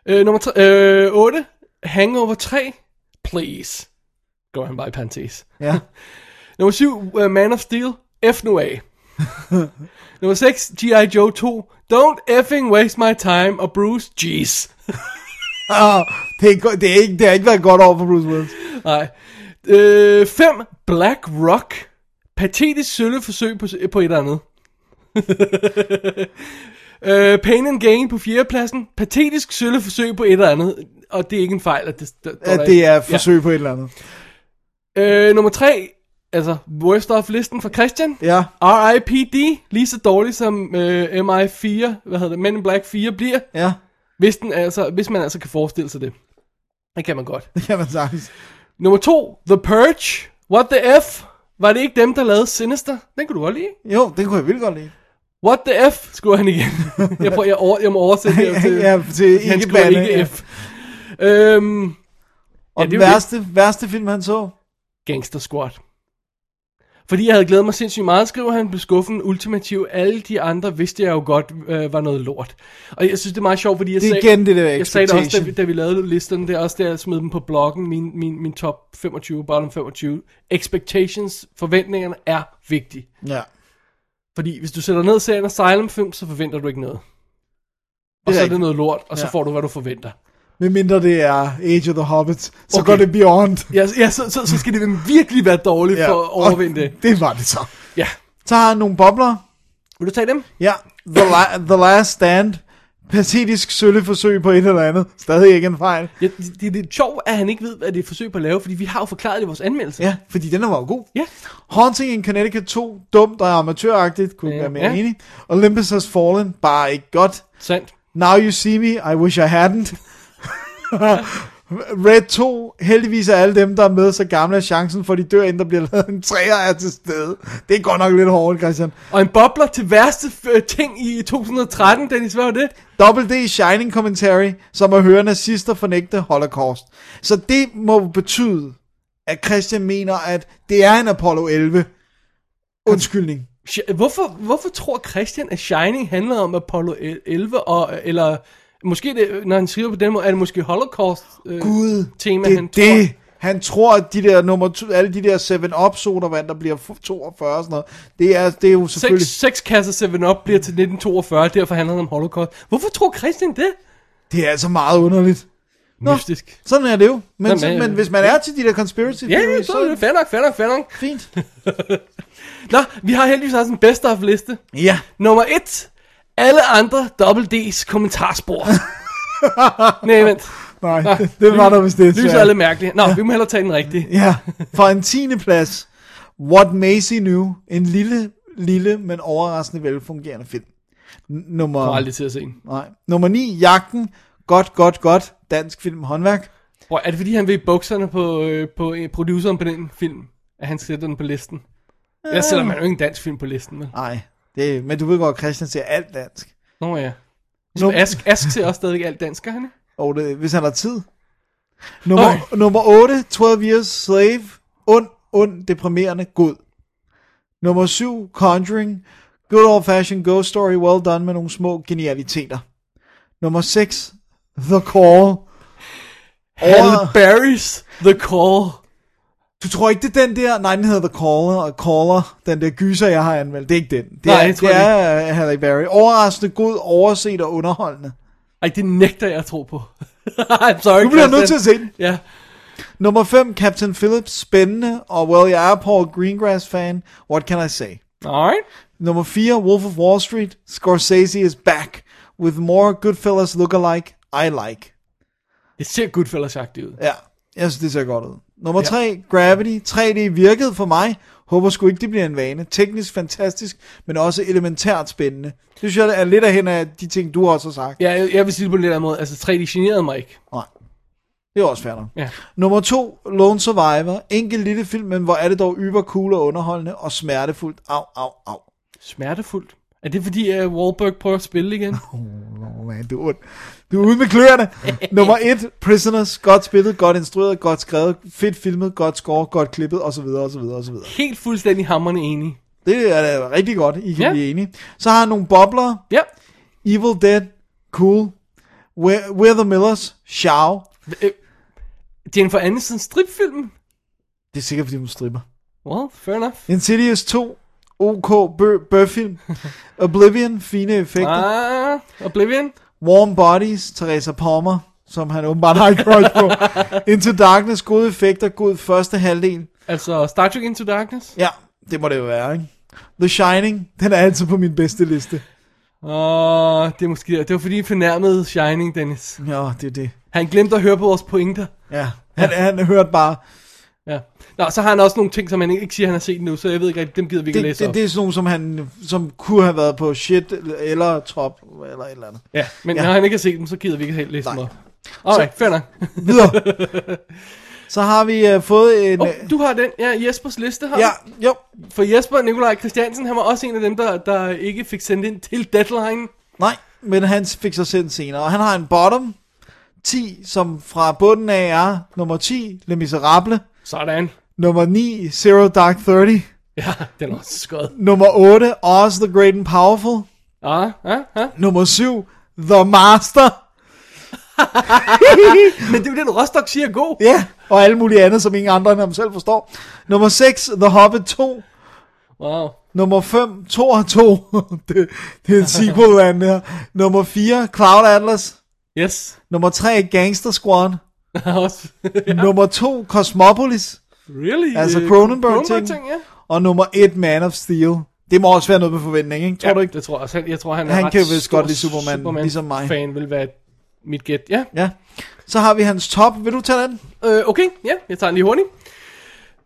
D: Øh, nummer 3, øh, 8, Hangover 3. Please. Går han bare i parentes.
C: Ja.
D: Nummer 7, uh, Man of Steel. F nu af. nummer 6, G.I. Joe 2. Don't effing waste my time. Og Bruce, jeez.
C: Ah, det, er, go- det, er ikke, det har ikke været godt over for Bruce Willis.
D: Nej. 5. Øh, fem, Black Rock. Patetisk sølle forsøg på, på et eller
C: [laughs]
D: andet. øh, Pain and Gain på fjerdepladsen. Patetisk sølle forsøg på et eller andet. Og det er ikke en fejl, at det står
C: At det er et forsøg ja. på et eller andet.
D: Ja. Øh, nummer 3. Altså, worst of listen fra Christian.
C: Ja.
D: R.I.P.D. Lige så dårlig som øh, MI4, hvad hedder det, Men in Black 4 bliver.
C: Ja,
D: Hvis, den altså, hvis man altså kan forestille sig det. Det kan man godt.
C: det kan man sagtens.
D: Nummer to, The Purge. What the F? Var det ikke dem, der lavede Sinister? Den kunne du godt lide.
C: Jo, det kunne jeg vildt godt lide.
D: What the F? Skriver han igen. jeg, prøver, jeg, over, jeg må oversætte det. til-
C: ja, til
D: han
C: ikke
D: skriver
C: bande.
D: ikke
C: ja.
D: F. Øhm,
C: Og
D: Ja, det
C: den
D: er jo
C: værste, værste film, han så.
D: Gangster Squad. Fordi jeg havde glædet mig sindssygt meget, skriver han, blev skuffen ultimativ. Alle de andre vidste jeg jo godt øh, var noget lort. Og jeg synes, det er meget sjovt, fordi jeg
C: Det er
D: sagde...
C: igen det der
D: Jeg sagde det også, da vi,
C: expectation.
D: da vi lavede listerne, det er også der, jeg smed dem på bloggen, min, min, min top 25, bottom 25. Expectations, forventningerne er vigtige.
C: Ja.
D: Fordi hvis du sætter ned serien Asylum film, så forventer du ikke noget. Og så er det
C: rigtigt.
D: noget lort, og så
C: Ja.
D: får du, hvad du forventer.
C: Med mindre det er Age of the Hobbits, så
D: Okay.
C: okay. går det beyond.
D: Ja, ja så, så, så skal det virkelig være dårligt ja. for at overvinde det.
C: og [laughs] Det var det så.
D: Ja.
C: Så har han nogle bobler.
D: Vil du tage dem?
C: Ja, The, la- the Last Stand. Patetisk sølleforsøg på et eller andet. Stadig ikke en fejl.
D: Ja, det, det, det er sjovt, at han ikke ved, hvad det er et forsøg på at lave, fordi vi har jo forklaret det i vores anmeldelse.
C: Ja, fordi den var jo god.
D: ja.
C: Haunting in Connecticut 2, dumt og amatøragtigt, kunne
D: Ja.
C: yeah. være mere
D: Ja.
C: yeah. enig. Olympus Has Fallen, bare ikke godt.
D: sandt.
C: Now You See Me, I Wish I Hadn't. [laughs] Red 2, heldigvis er alle dem, der er med, så gamle er chancen for, at de dør, inden der bliver lavet en træer er til stede. Det er godt nok lidt hårdt, Christian.
D: Og en bobler til værste øh, ting i 2013, Dennis, hvad var det?
C: Double D Shining Commentary, som at høre nazister fornægte Holocaust. Så det må betyde, at Christian mener, at det er en Apollo 11 undskyldning.
D: Sh- Hvorfor, hvorfor tror Christian, at Shining handler om Apollo 11, og, eller måske, det, når han skriver på den måde, er det måske Holocaust-tema, øh,
C: Gud,
D: tema,
C: det er
D: han
C: det.
D: tror?
C: Han tror, at de der nummer to, alle de der 7-Up sodavand, der bliver fu- 42 og sådan noget, det er, det er jo selvfølgelig...
D: Seks, seks kasser 7-Up bliver til 1942, derfor handler det om Holocaust. Hvorfor tror Christian det?
C: Det er altså meget underligt. Nå.
D: Mystisk.
C: Sådan er det jo. Men,
D: Jamen,
C: Jamen, så,
D: øh,
C: men hvis man er til de der conspiracy
D: Ja,
C: theories,
D: ja, så er det fair nok, fair nok, fair nok. [laughs]
C: fint.
D: Nå, vi har heldigvis også en best of liste.
C: Ja.
D: Nummer 1. Alle andre Double D's
C: [laughs]
D: kommentarspor. Nej, vent.
C: Nej, [laughs] det, det var der vist det.
D: Lyset
C: så-
D: er lidt mærkeligt. Nå, vi må hellere tage den rigtige.
C: Ja, fra en tiende plads. What Macy Knew. En lille, lille, men overraskende velfungerende film. N-
D: Jeg kommer
C: nummer,
D: aldrig til at se den.
C: nej. nummer 9, Jagten. Godt, godt, godt. Dansk film håndværk.
D: Bro, er det fordi, han vil i bukserne på, øh, på øh, produceren på den film, at han sætter den på listen? Jeg sætter man jo ikke en dansk film på listen, vel?
C: Nej, det, men du ved godt, Christian ser alt dansk.
D: Nå ja.
C: Num-
D: Ligesom Ask, Ask ser også stadig alt dansk, gør han ikke?
C: Og det, hvis han har tid. Nummer,
D: Okay.
C: nummer 8, 12 Years Slave. Ond, ond, deprimerende, god. Nummer 7, Conjuring. Good old fashioned ghost story, well done med nogle små genialiteter. Nummer 6, The Call.
D: Halle
C: Over,
D: Berry's The Call.
C: du tror ikke, det er den der? Nej, den hedder The Caller, og Caller, den der gyser, jeg har anmeldt. Det er ikke den. Det
D: Nej,
C: er,
D: jeg tror
C: det er uh, Halle Berry. Overraskende god, overset og underholdende.
D: Ej, det nægter jeg at tro på. [laughs] I'm sorry,
C: Nu bliver jeg
D: Christian.
C: nødt til at se den.
D: Ja.
C: Nummer 5, Captain Phillips, spændende, og well, jeg er Paul Greengrass-fan, what can I say?
D: Alright.
C: Nummer 4, Wolf of Wall Street, Scorsese is back, with more Goodfellas look-alike, I like.
D: Det ser Goodfellas-agtigt ud.
C: Ja, jeg synes, det ser godt ud. Nummer 3, Gravity, 3D virkede for mig, Håber sgu ikke, det bliver en vane. Teknisk fantastisk, men også elementært spændende. Det synes jeg er lidt af hen af de ting, du også har sagt.
D: Ja, jeg, jeg vil sige det på en lidt anden måde. Altså, 3D generede mig ikke.
C: Nej. Det er også fair nok.
D: Ja.
C: Nummer to, Lone Survivor. Enkel lille film, men hvor er det dog yber cool og underholdende og smertefuldt. Au, au, au.
D: Smertefuldt. Er det fordi, uh, Wahlberg prøver at
C: [laughs]
D: spille igen?
C: Oh, man, du, er ond. du er ude med kløerne. Nummer et, Prisoners. Godt spillet, godt instrueret, godt skrevet, fedt filmet, godt score, godt klippet osv. osv. osv.
D: Helt fuldstændig hammerne enig.
C: Det er da rigtig godt, I kan
D: Ja.
C: yeah. blive enige. Så har han nogle bobler.
D: Ja.
C: Evil Dead, cool. We're, We're the Millers, Shaw.
D: Øh, Jennifer Aniston stripfilmen?
C: Det er sikkert, fordi hun stripper.
D: Well, fair enough.
C: Insidious 2, OK, bø, bøfilm. Oblivion, fine effekter.
D: Ah, Oblivion.
C: Warm Bodies, Teresa Palmer, som han åbenbart har et crush
D: [laughs]
C: på. Into Darkness, gode effekter, god første halvdel.
D: Altså, Star Trek Into Darkness.
C: Ja, det må det jo være, ikke? The Shining, den er altid på min bedste liste.
D: Åh, det er måske... Det var fordi, han fornærmede Shining, Dennis.
C: Ja, det er det.
D: Han glemte at høre på vores pointer.
C: Ja, han, han hørte bare,
D: Ja. Nå, så har han også nogle ting, som han ikke siger, han har set nu, så jeg ved ikke rigtig, dem gider vi ikke
C: det,
D: læse
C: det,
D: op.
C: det er sådan nogle, som, han, som kunne have været på shit eller top eller et eller andet.
D: Ja, men
C: Ja.
D: ja. når han ikke har set dem, så gider vi ikke helt læse
C: Nej.
D: dem op. Alright, fair [laughs] nok.
C: Videre. Så har vi uh, fået en...
D: Oh,
C: øh,
D: du har den, ja, Jespers liste her.
C: ja, jo.
D: For Jesper Nikolaj Christiansen, han var også en af dem, der, der ikke fik sendt ind til deadline.
C: Nej, men han fik sig sendt senere. Og han har en bottom 10, som fra bunden af er nummer 10, Le Miserable.
D: Sådan.
C: Nummer 9, Zero Dark Thirty.
D: Ja, den er også skød.
C: Nummer 8, Oz the Great and Powerful.
D: Ah, ah, ah.
C: Nummer 7, The Master.
D: Men det er jo det, du Rostock siger er god.
C: Ja, og alle mulige andre, som ingen andre end ham selv forstår. Nummer 6, The Hobbit 2.
D: Wow.
C: Nummer 5, 2 og 2. [laughs] det, det er en sequel af den her. Nummer 4, Cloud Atlas.
D: Yes.
C: Nummer 3, Gangster Squad.
D: [laughs] også.
C: Nummer 2, Cosmopolis.
D: really?
C: Altså
D: øh,
C: Cronenberg-ting.
D: Cronenberg-ting, ja.
C: Og nummer 1, Man of Steel. Det må også være noget med forventning, ikke? Tror
D: ja,
C: du ikke?
D: Det tror jeg også. Jeg tror, han er
C: Han
D: ret
C: kan jo vist
D: stor
C: godt lide Superman, ligesom mig.
D: Fan vil være mit gæt, ja.
C: Ja. Så har vi hans top. Vil du tage den?
D: Øh, okay, ja, jeg tager den lige hurtigt.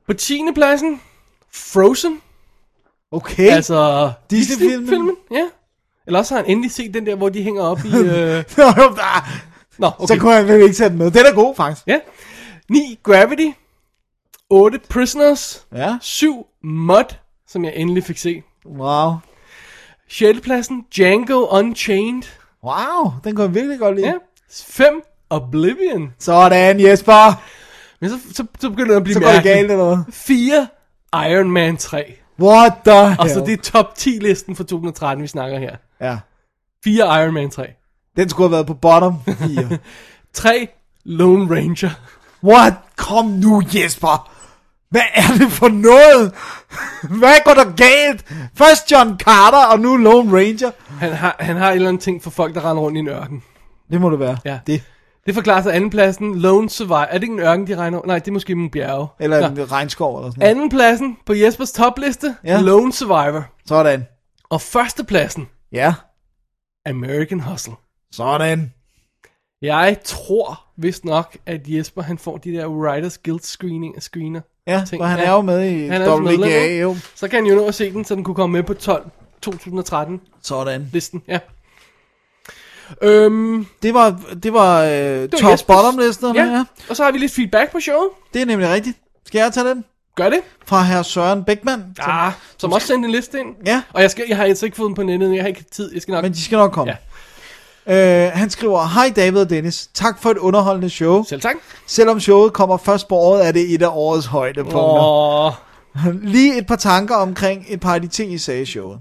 D: På 10. pladsen, Frozen.
C: Okay. [laughs] Altså.
D: Altså
C: Disney-filmen?
D: Disney-filmen, ja. Eller også har han endelig set den der, hvor de hænger op i...
C: [laughs]
D: Øh... Nå,
C: Så
D: okay.
C: kunne han vel ikke tage den med. Den er god, faktisk.
D: Ja. 9. Gravity. 8. Prisoners.
C: Ja.
D: 7. Mud, som jeg endelig fik set.
C: Wow.
D: 6. pladsen, Django Unchained.
C: Wow, den kunne jeg virkelig godt lide.
D: Ja. 5. Oblivion.
C: Sådan, Jesper.
D: Men så, så, så begynder det at blive
C: Så går det
D: mærkeligt.
C: galt eller hvad?
D: 4. Iron Man 3.
C: What the hell?
D: Og så det er top 10 listen for 2013, vi snakker her.
C: Ja.
D: 4 Iron Man 3.
C: Den skulle have været på bottom
D: [laughs]
C: 4.
D: 3 Lone Ranger.
C: What? Kom nu, Jesper. Hvad er det for noget? Hvad går der galt? Først John Carter, og nu Lone Ranger.
D: Han har, han har et eller andet ting for folk, der render rundt i en ørken.
C: Det må det være.
D: Ja.
C: Det.
D: Det forklarer sig andenpladsen, Lone Survivor. Er det ikke en ørken, de regner Nej, det er måske en bjerge.
C: Eller
D: Nå.
C: en regnskov eller sådan noget.
D: Andenpladsen på Jespers topliste,
C: Ja.
D: ja. Lone Survivor.
C: Sådan.
D: Og førstepladsen,
C: Ja.
D: American Hustle.
C: Sådan.
D: Jeg tror vist nok, at Jesper han får de der Writers Guild screening, screener.
C: Ja,
D: Ting.
C: for han
D: Ja.
C: er jo med i
D: Han er jo
C: WGA,
D: medlem,
C: jo.
D: Så kan han jo nå at se den, så den kunne komme med på 12 2013-listen,
C: Sådan.
D: ja. Øhm,
C: Det var, det var, øh,
D: det var
C: top
D: Jespers-
C: bottom listerne,
D: ja.
C: ja.
D: Og så har vi lidt feedback på showet.
C: Det er nemlig rigtigt. Skal jeg tage den?
D: Gør det.
C: Fra herr Søren Beckmann.
D: Ah, som også sendte en liste ind.
C: Ja.
D: Og jeg, skal, jeg har altså ikke fået den på nettet, jeg har ikke tid. Jeg skal nok...
C: Men de skal nok komme.
D: Ja.
C: Øh, han skriver, Hej David og Dennis, tak for et underholdende show.
D: Selv tak.
C: Selvom showet kommer først på året, er det et af årets højdepunkter.
D: Åh,
C: [laughs] Lige et par tanker omkring et par af de ting, I sagde i showet.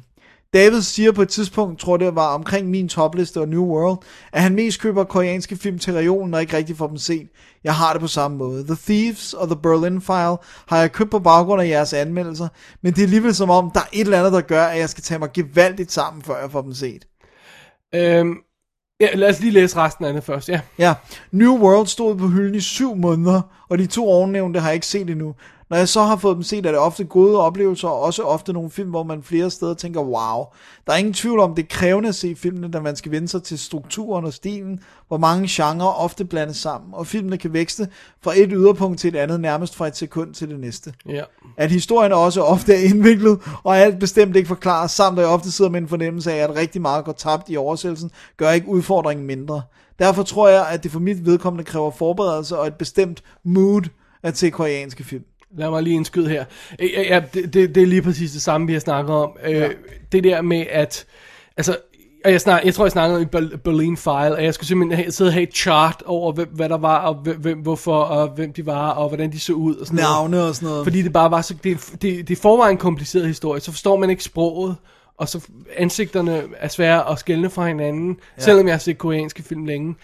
C: David siger på et tidspunkt, tror det var omkring min topliste og New World, at han mest køber koreanske film til regionen og ikke rigtig får dem set. Jeg har det på samme måde. The Thieves og The Berlin File har jeg købt på baggrund af jeres anmeldelser, men det er alligevel som om, der er et eller andet, der gør, at jeg skal tage mig gevaldigt sammen, før jeg får dem set.
D: øhm, ja, lad os lige læse resten af det først, ja.
C: Ja, New World stod på hylden i syv måneder, og de to ovennævnte har jeg ikke set endnu. Når jeg så har fået dem set, er det ofte gode oplevelser, og også ofte nogle film, hvor man flere steder tænker, wow. Der er ingen tvivl om, det er krævende at se filmene, da man skal vende sig til strukturen og stilen, hvor mange genrer ofte blandes sammen, og filmene kan vækste fra et yderpunkt til et andet, nærmest fra et sekund til det næste
D: Ja.
C: at historien også ofte [laughs] er indviklet, og alt bestemt ikke forklares, samt at jeg ofte sidder med en fornemmelse af, at rigtig meget går tabt i oversættelsen, gør ikke udfordringen mindre. Derfor tror jeg, at det for mit vedkommende kræver forberedelse og et bestemt mood at se koreanske film.
D: Lad mig lige indskyde her. Øh, Ja, ja det, det, det er lige præcis det samme, vi har snakket om. Øh, Det der med, at... Altså, og jeg, snak, jeg tror, jeg snakkede om i Ber- Berlin File, at jeg skulle simpelthen have, sidde og have et chart over, hvem, hvad der var, og hvem, hvem- hvorfor, og hvem de var, og hvordan de så ud, og sådan noget.
C: Navne og sådan noget.
D: Fordi det bare var så... Det, er- det, det er forvejen en kompliceret historie, så forstår man ikke sproget, og så ansigterne er svære at skelne fra hinanden, ja. selvom jeg har set koreanske film længe.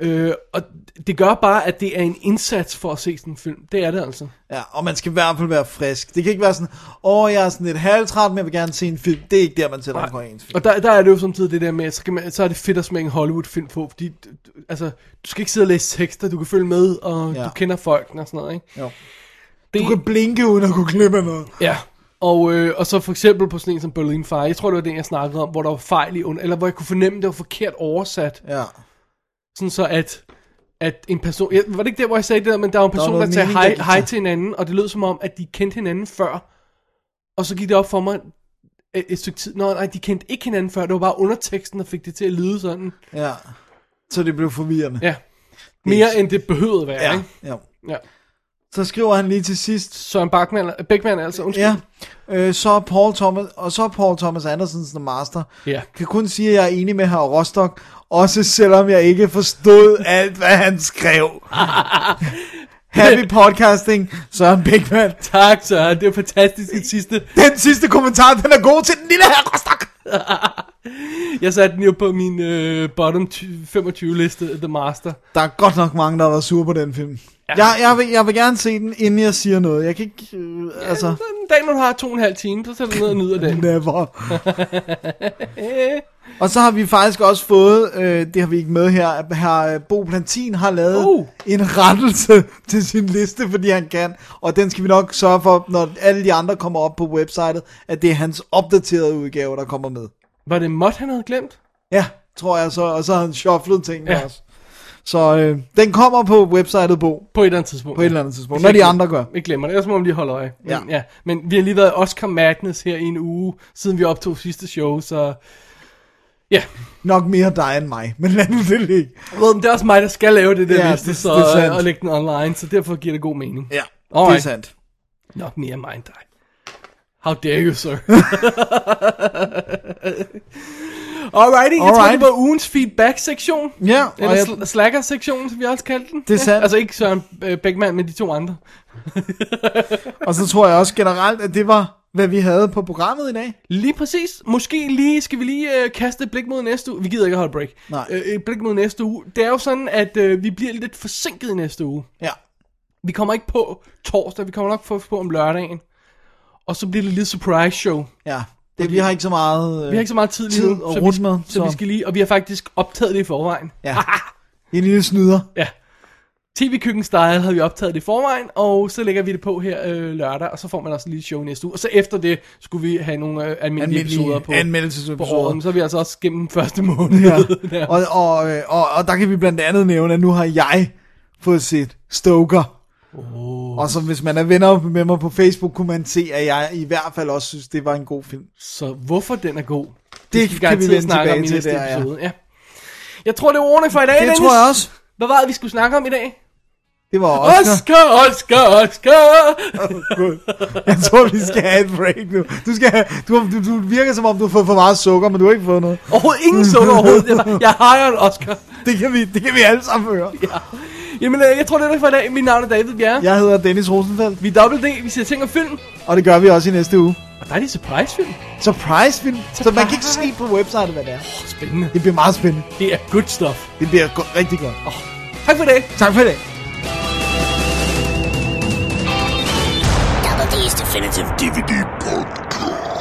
D: Øh, og det gør bare, at det er en indsats for at se sådan en film. Det er det altså.
C: Ja, og man skal i hvert fald være frisk. Det kan ikke være sådan, åh, jeg er sådan lidt halvtræt, men jeg vil gerne se en film. Det er ikke der, man sætter en koreansk film.
D: Og der, der er det jo samtidig det der med, at så, kan man, så er det fedt at smække en Hollywood-film på, fordi d- d- altså, du skal ikke sidde og læse tekster, du kan følge med, og
C: Ja.
D: ja. du kender folkene og sådan noget, ikke?
C: Jo.
D: Det,
C: Du kan blinke uden at kunne glemme noget.
D: Ja, og, øh, og så for eksempel på sådan en som Berlin Fire, jeg tror det var den, jeg snakkede om, hvor der var fejl i, under, eller hvor jeg kunne fornemme, det var forkert oversat,
C: Ja.
D: sådan så at, at en person, jeg, var det ikke der, hvor jeg sagde det der, men der var en person, der,
C: noget
D: der sagde
C: mening,
D: hej,
C: der gik
D: hej
C: til.
D: til hinanden, og det lød som om, at de kendte hinanden før, og så gik det op for mig et, et stykke tid, Nå, nej, de kendte ikke hinanden før, det var bare underteksten, der fik det til at lyde sådan.
C: Ja. Så det blev forvirrende.
D: Ja. Mere end det behøvede være, ja.
C: Ja.
D: ikke?
C: ja.
D: Ja.
C: Så skriver han lige til sidst,
D: Søren Bachmann, Bækman altså, undskyld.
C: Ja, øh, så er Paul Thomas, og så er Paul Thomas Andersens The Master.
D: Ja.
C: Kan kun sige, at jeg er enig med herr Rostock, også selvom jeg ikke forstod alt, hvad han skrev. Happy podcasting, Søren Bækman.
D: Tak, Søren. Det er fantastisk det sidste.
C: Den sidste kommentar, den er god til den lille herr Rostock.
D: Jeg satte den jo på min øh, bottom 25-liste, The Master.
C: Der er godt nok mange, der har været sure på den film. Ja. Jeg, jeg, vil, jeg vil gerne se den, inden jeg siger noget. Jeg kan ikke, øh, altså,
D: Den dag, når du har to og en halv time, så sætter du ned og nyder den.
C: never. Og så har vi faktisk også fået, øh, det har vi ikke med her, at her øh, Bo Plantin har lavet
D: Uh.
C: en rettelse [laughs] til sin liste, fordi han kan. Og den skal vi nok sørge for, når alle de andre kommer op på websitet, at det er hans opdaterede udgave, der kommer med.
D: Var det Mott, han havde glemt?
C: Ja, tror jeg så. Og så har han shufflet tingene ja.
D: Ja.
C: også. Så øh, den kommer på websitet, Bo,
D: På et eller andet tidspunkt.
C: på et eller andet tidspunkt, når de andre gør.
D: Vi glemmer det, ellers må vi lige holde øje. Men,
C: Ja.
D: ja. Men vi har lige været i Oscar Madness her i en uge, siden vi optog sidste show, så... Ja,
C: Nok mere dig end mig, men lad nu det ligge.
D: Well, det er også mig, der skal lave det der
C: Ja,
D: ja, liste,
C: det-
D: så,
C: det er sandt.
D: øh, og lægge den online, så derfor giver det god mening.
C: Ja, det er
D: Alright.
C: sandt.
D: Nok mere mig end dig. How dare you,
C: [laughs]
D: sir. Alrighty, jeg tror,
C: Alright.
D: det var ugens feedback-sektion.
C: Ja, og
D: Eller
C: jeg,
D: sl- slacker-sektionen, som vi også kaldte den.
C: Det er sandt.
D: Altså ikke Søren øh, Beckmann, men de to andre.
C: Og så tror jeg også generelt, at det var, hvad vi havde på programmet i dag.
D: Lige præcis. Måske lige skal vi lige øh, kaste et blik mod næste uge. Vi gider ikke holde break.
C: Nej.
D: Øh, et blik mod næste uge. Det er jo sådan, at øh, vi bliver lidt forsinket i næste uge.
C: Ja.
D: Vi kommer ikke på torsdag, vi kommer nok på, på om lørdagen. Og så bliver det et lille surprise show.
C: Ja, det, vi har ikke så meget... Øh,
D: Vi har ikke så meget tid lige
C: Tid
D: nu,
C: at
D: så,
C: rutte
D: vi,
C: med,
D: så,
C: så-
D: vi skal lige, og vi har faktisk optaget det i forvejen.
C: Ja. [laughs] En lille snyder.
D: Ja. TV Køkken Style havde vi optaget det i forvejen, og så lægger vi det på her øh, lørdag, og så får man også lige show næste uge. Og så efter det skulle vi have nogle øh, almindelige episoder på, på
C: anmeldelsesepisoder.
D: året, så er vi altså også gennem den første
C: [laughs]
D: måned.
C: Ja.
D: [laughs] Ja.
C: Og, og, øh, og, og der kan vi blandt andet nævne, at nu har jeg fået set Stoker. Oh. Og så hvis man er venner med mig på Facebook, kunne man se, at jeg i hvert fald også synes, det var en god film.
D: Så hvorfor den er god,
C: Det
D: skal vi
C: kan vi
D: garanteret
C: vende
D: snakke om
C: tilbage
D: i
C: til
D: næste
C: der, ja.
D: episode. Ja. Jeg tror, det er ordene for i dag,
C: Det
D: Dennis.
C: tror jeg også.
D: Hvad var det, vi skulle snakke om i dag?
C: Det var Oscar.
D: Oscar, Oscar, Oscar!
C: Gud. [laughs] Jeg tror, vi skal have et break nu. Du, skal have, du, har- du, du virker som om, du har fået for meget sukker, men du har ikke fået noget.
D: Overhovedet ingen sukker overhovedet. Jeg- Jeg har en Oscar.
C: Det kan vi, det kan vi alle sammen høre.
D: Jamen, øh, jeg tror, det er det for i dag. Mit navn er David Bjerre.
C: Jeg hedder Dennis Rosenfeldt,
D: Vi er Double D, vi ser ting og film.
C: og det gør vi også i næste uge.
D: Og der er de surprise film.
C: Surprise film, så man kan ikke se på websitet, hvad det er.
D: Åh, spændende.
C: Det bliver meget spændende.
D: Det er good stuff.
C: Det bliver go- rigtig godt.
D: Tak for det.
C: Tak for det.
B: Double D's Definitive
G: DVD Podcast.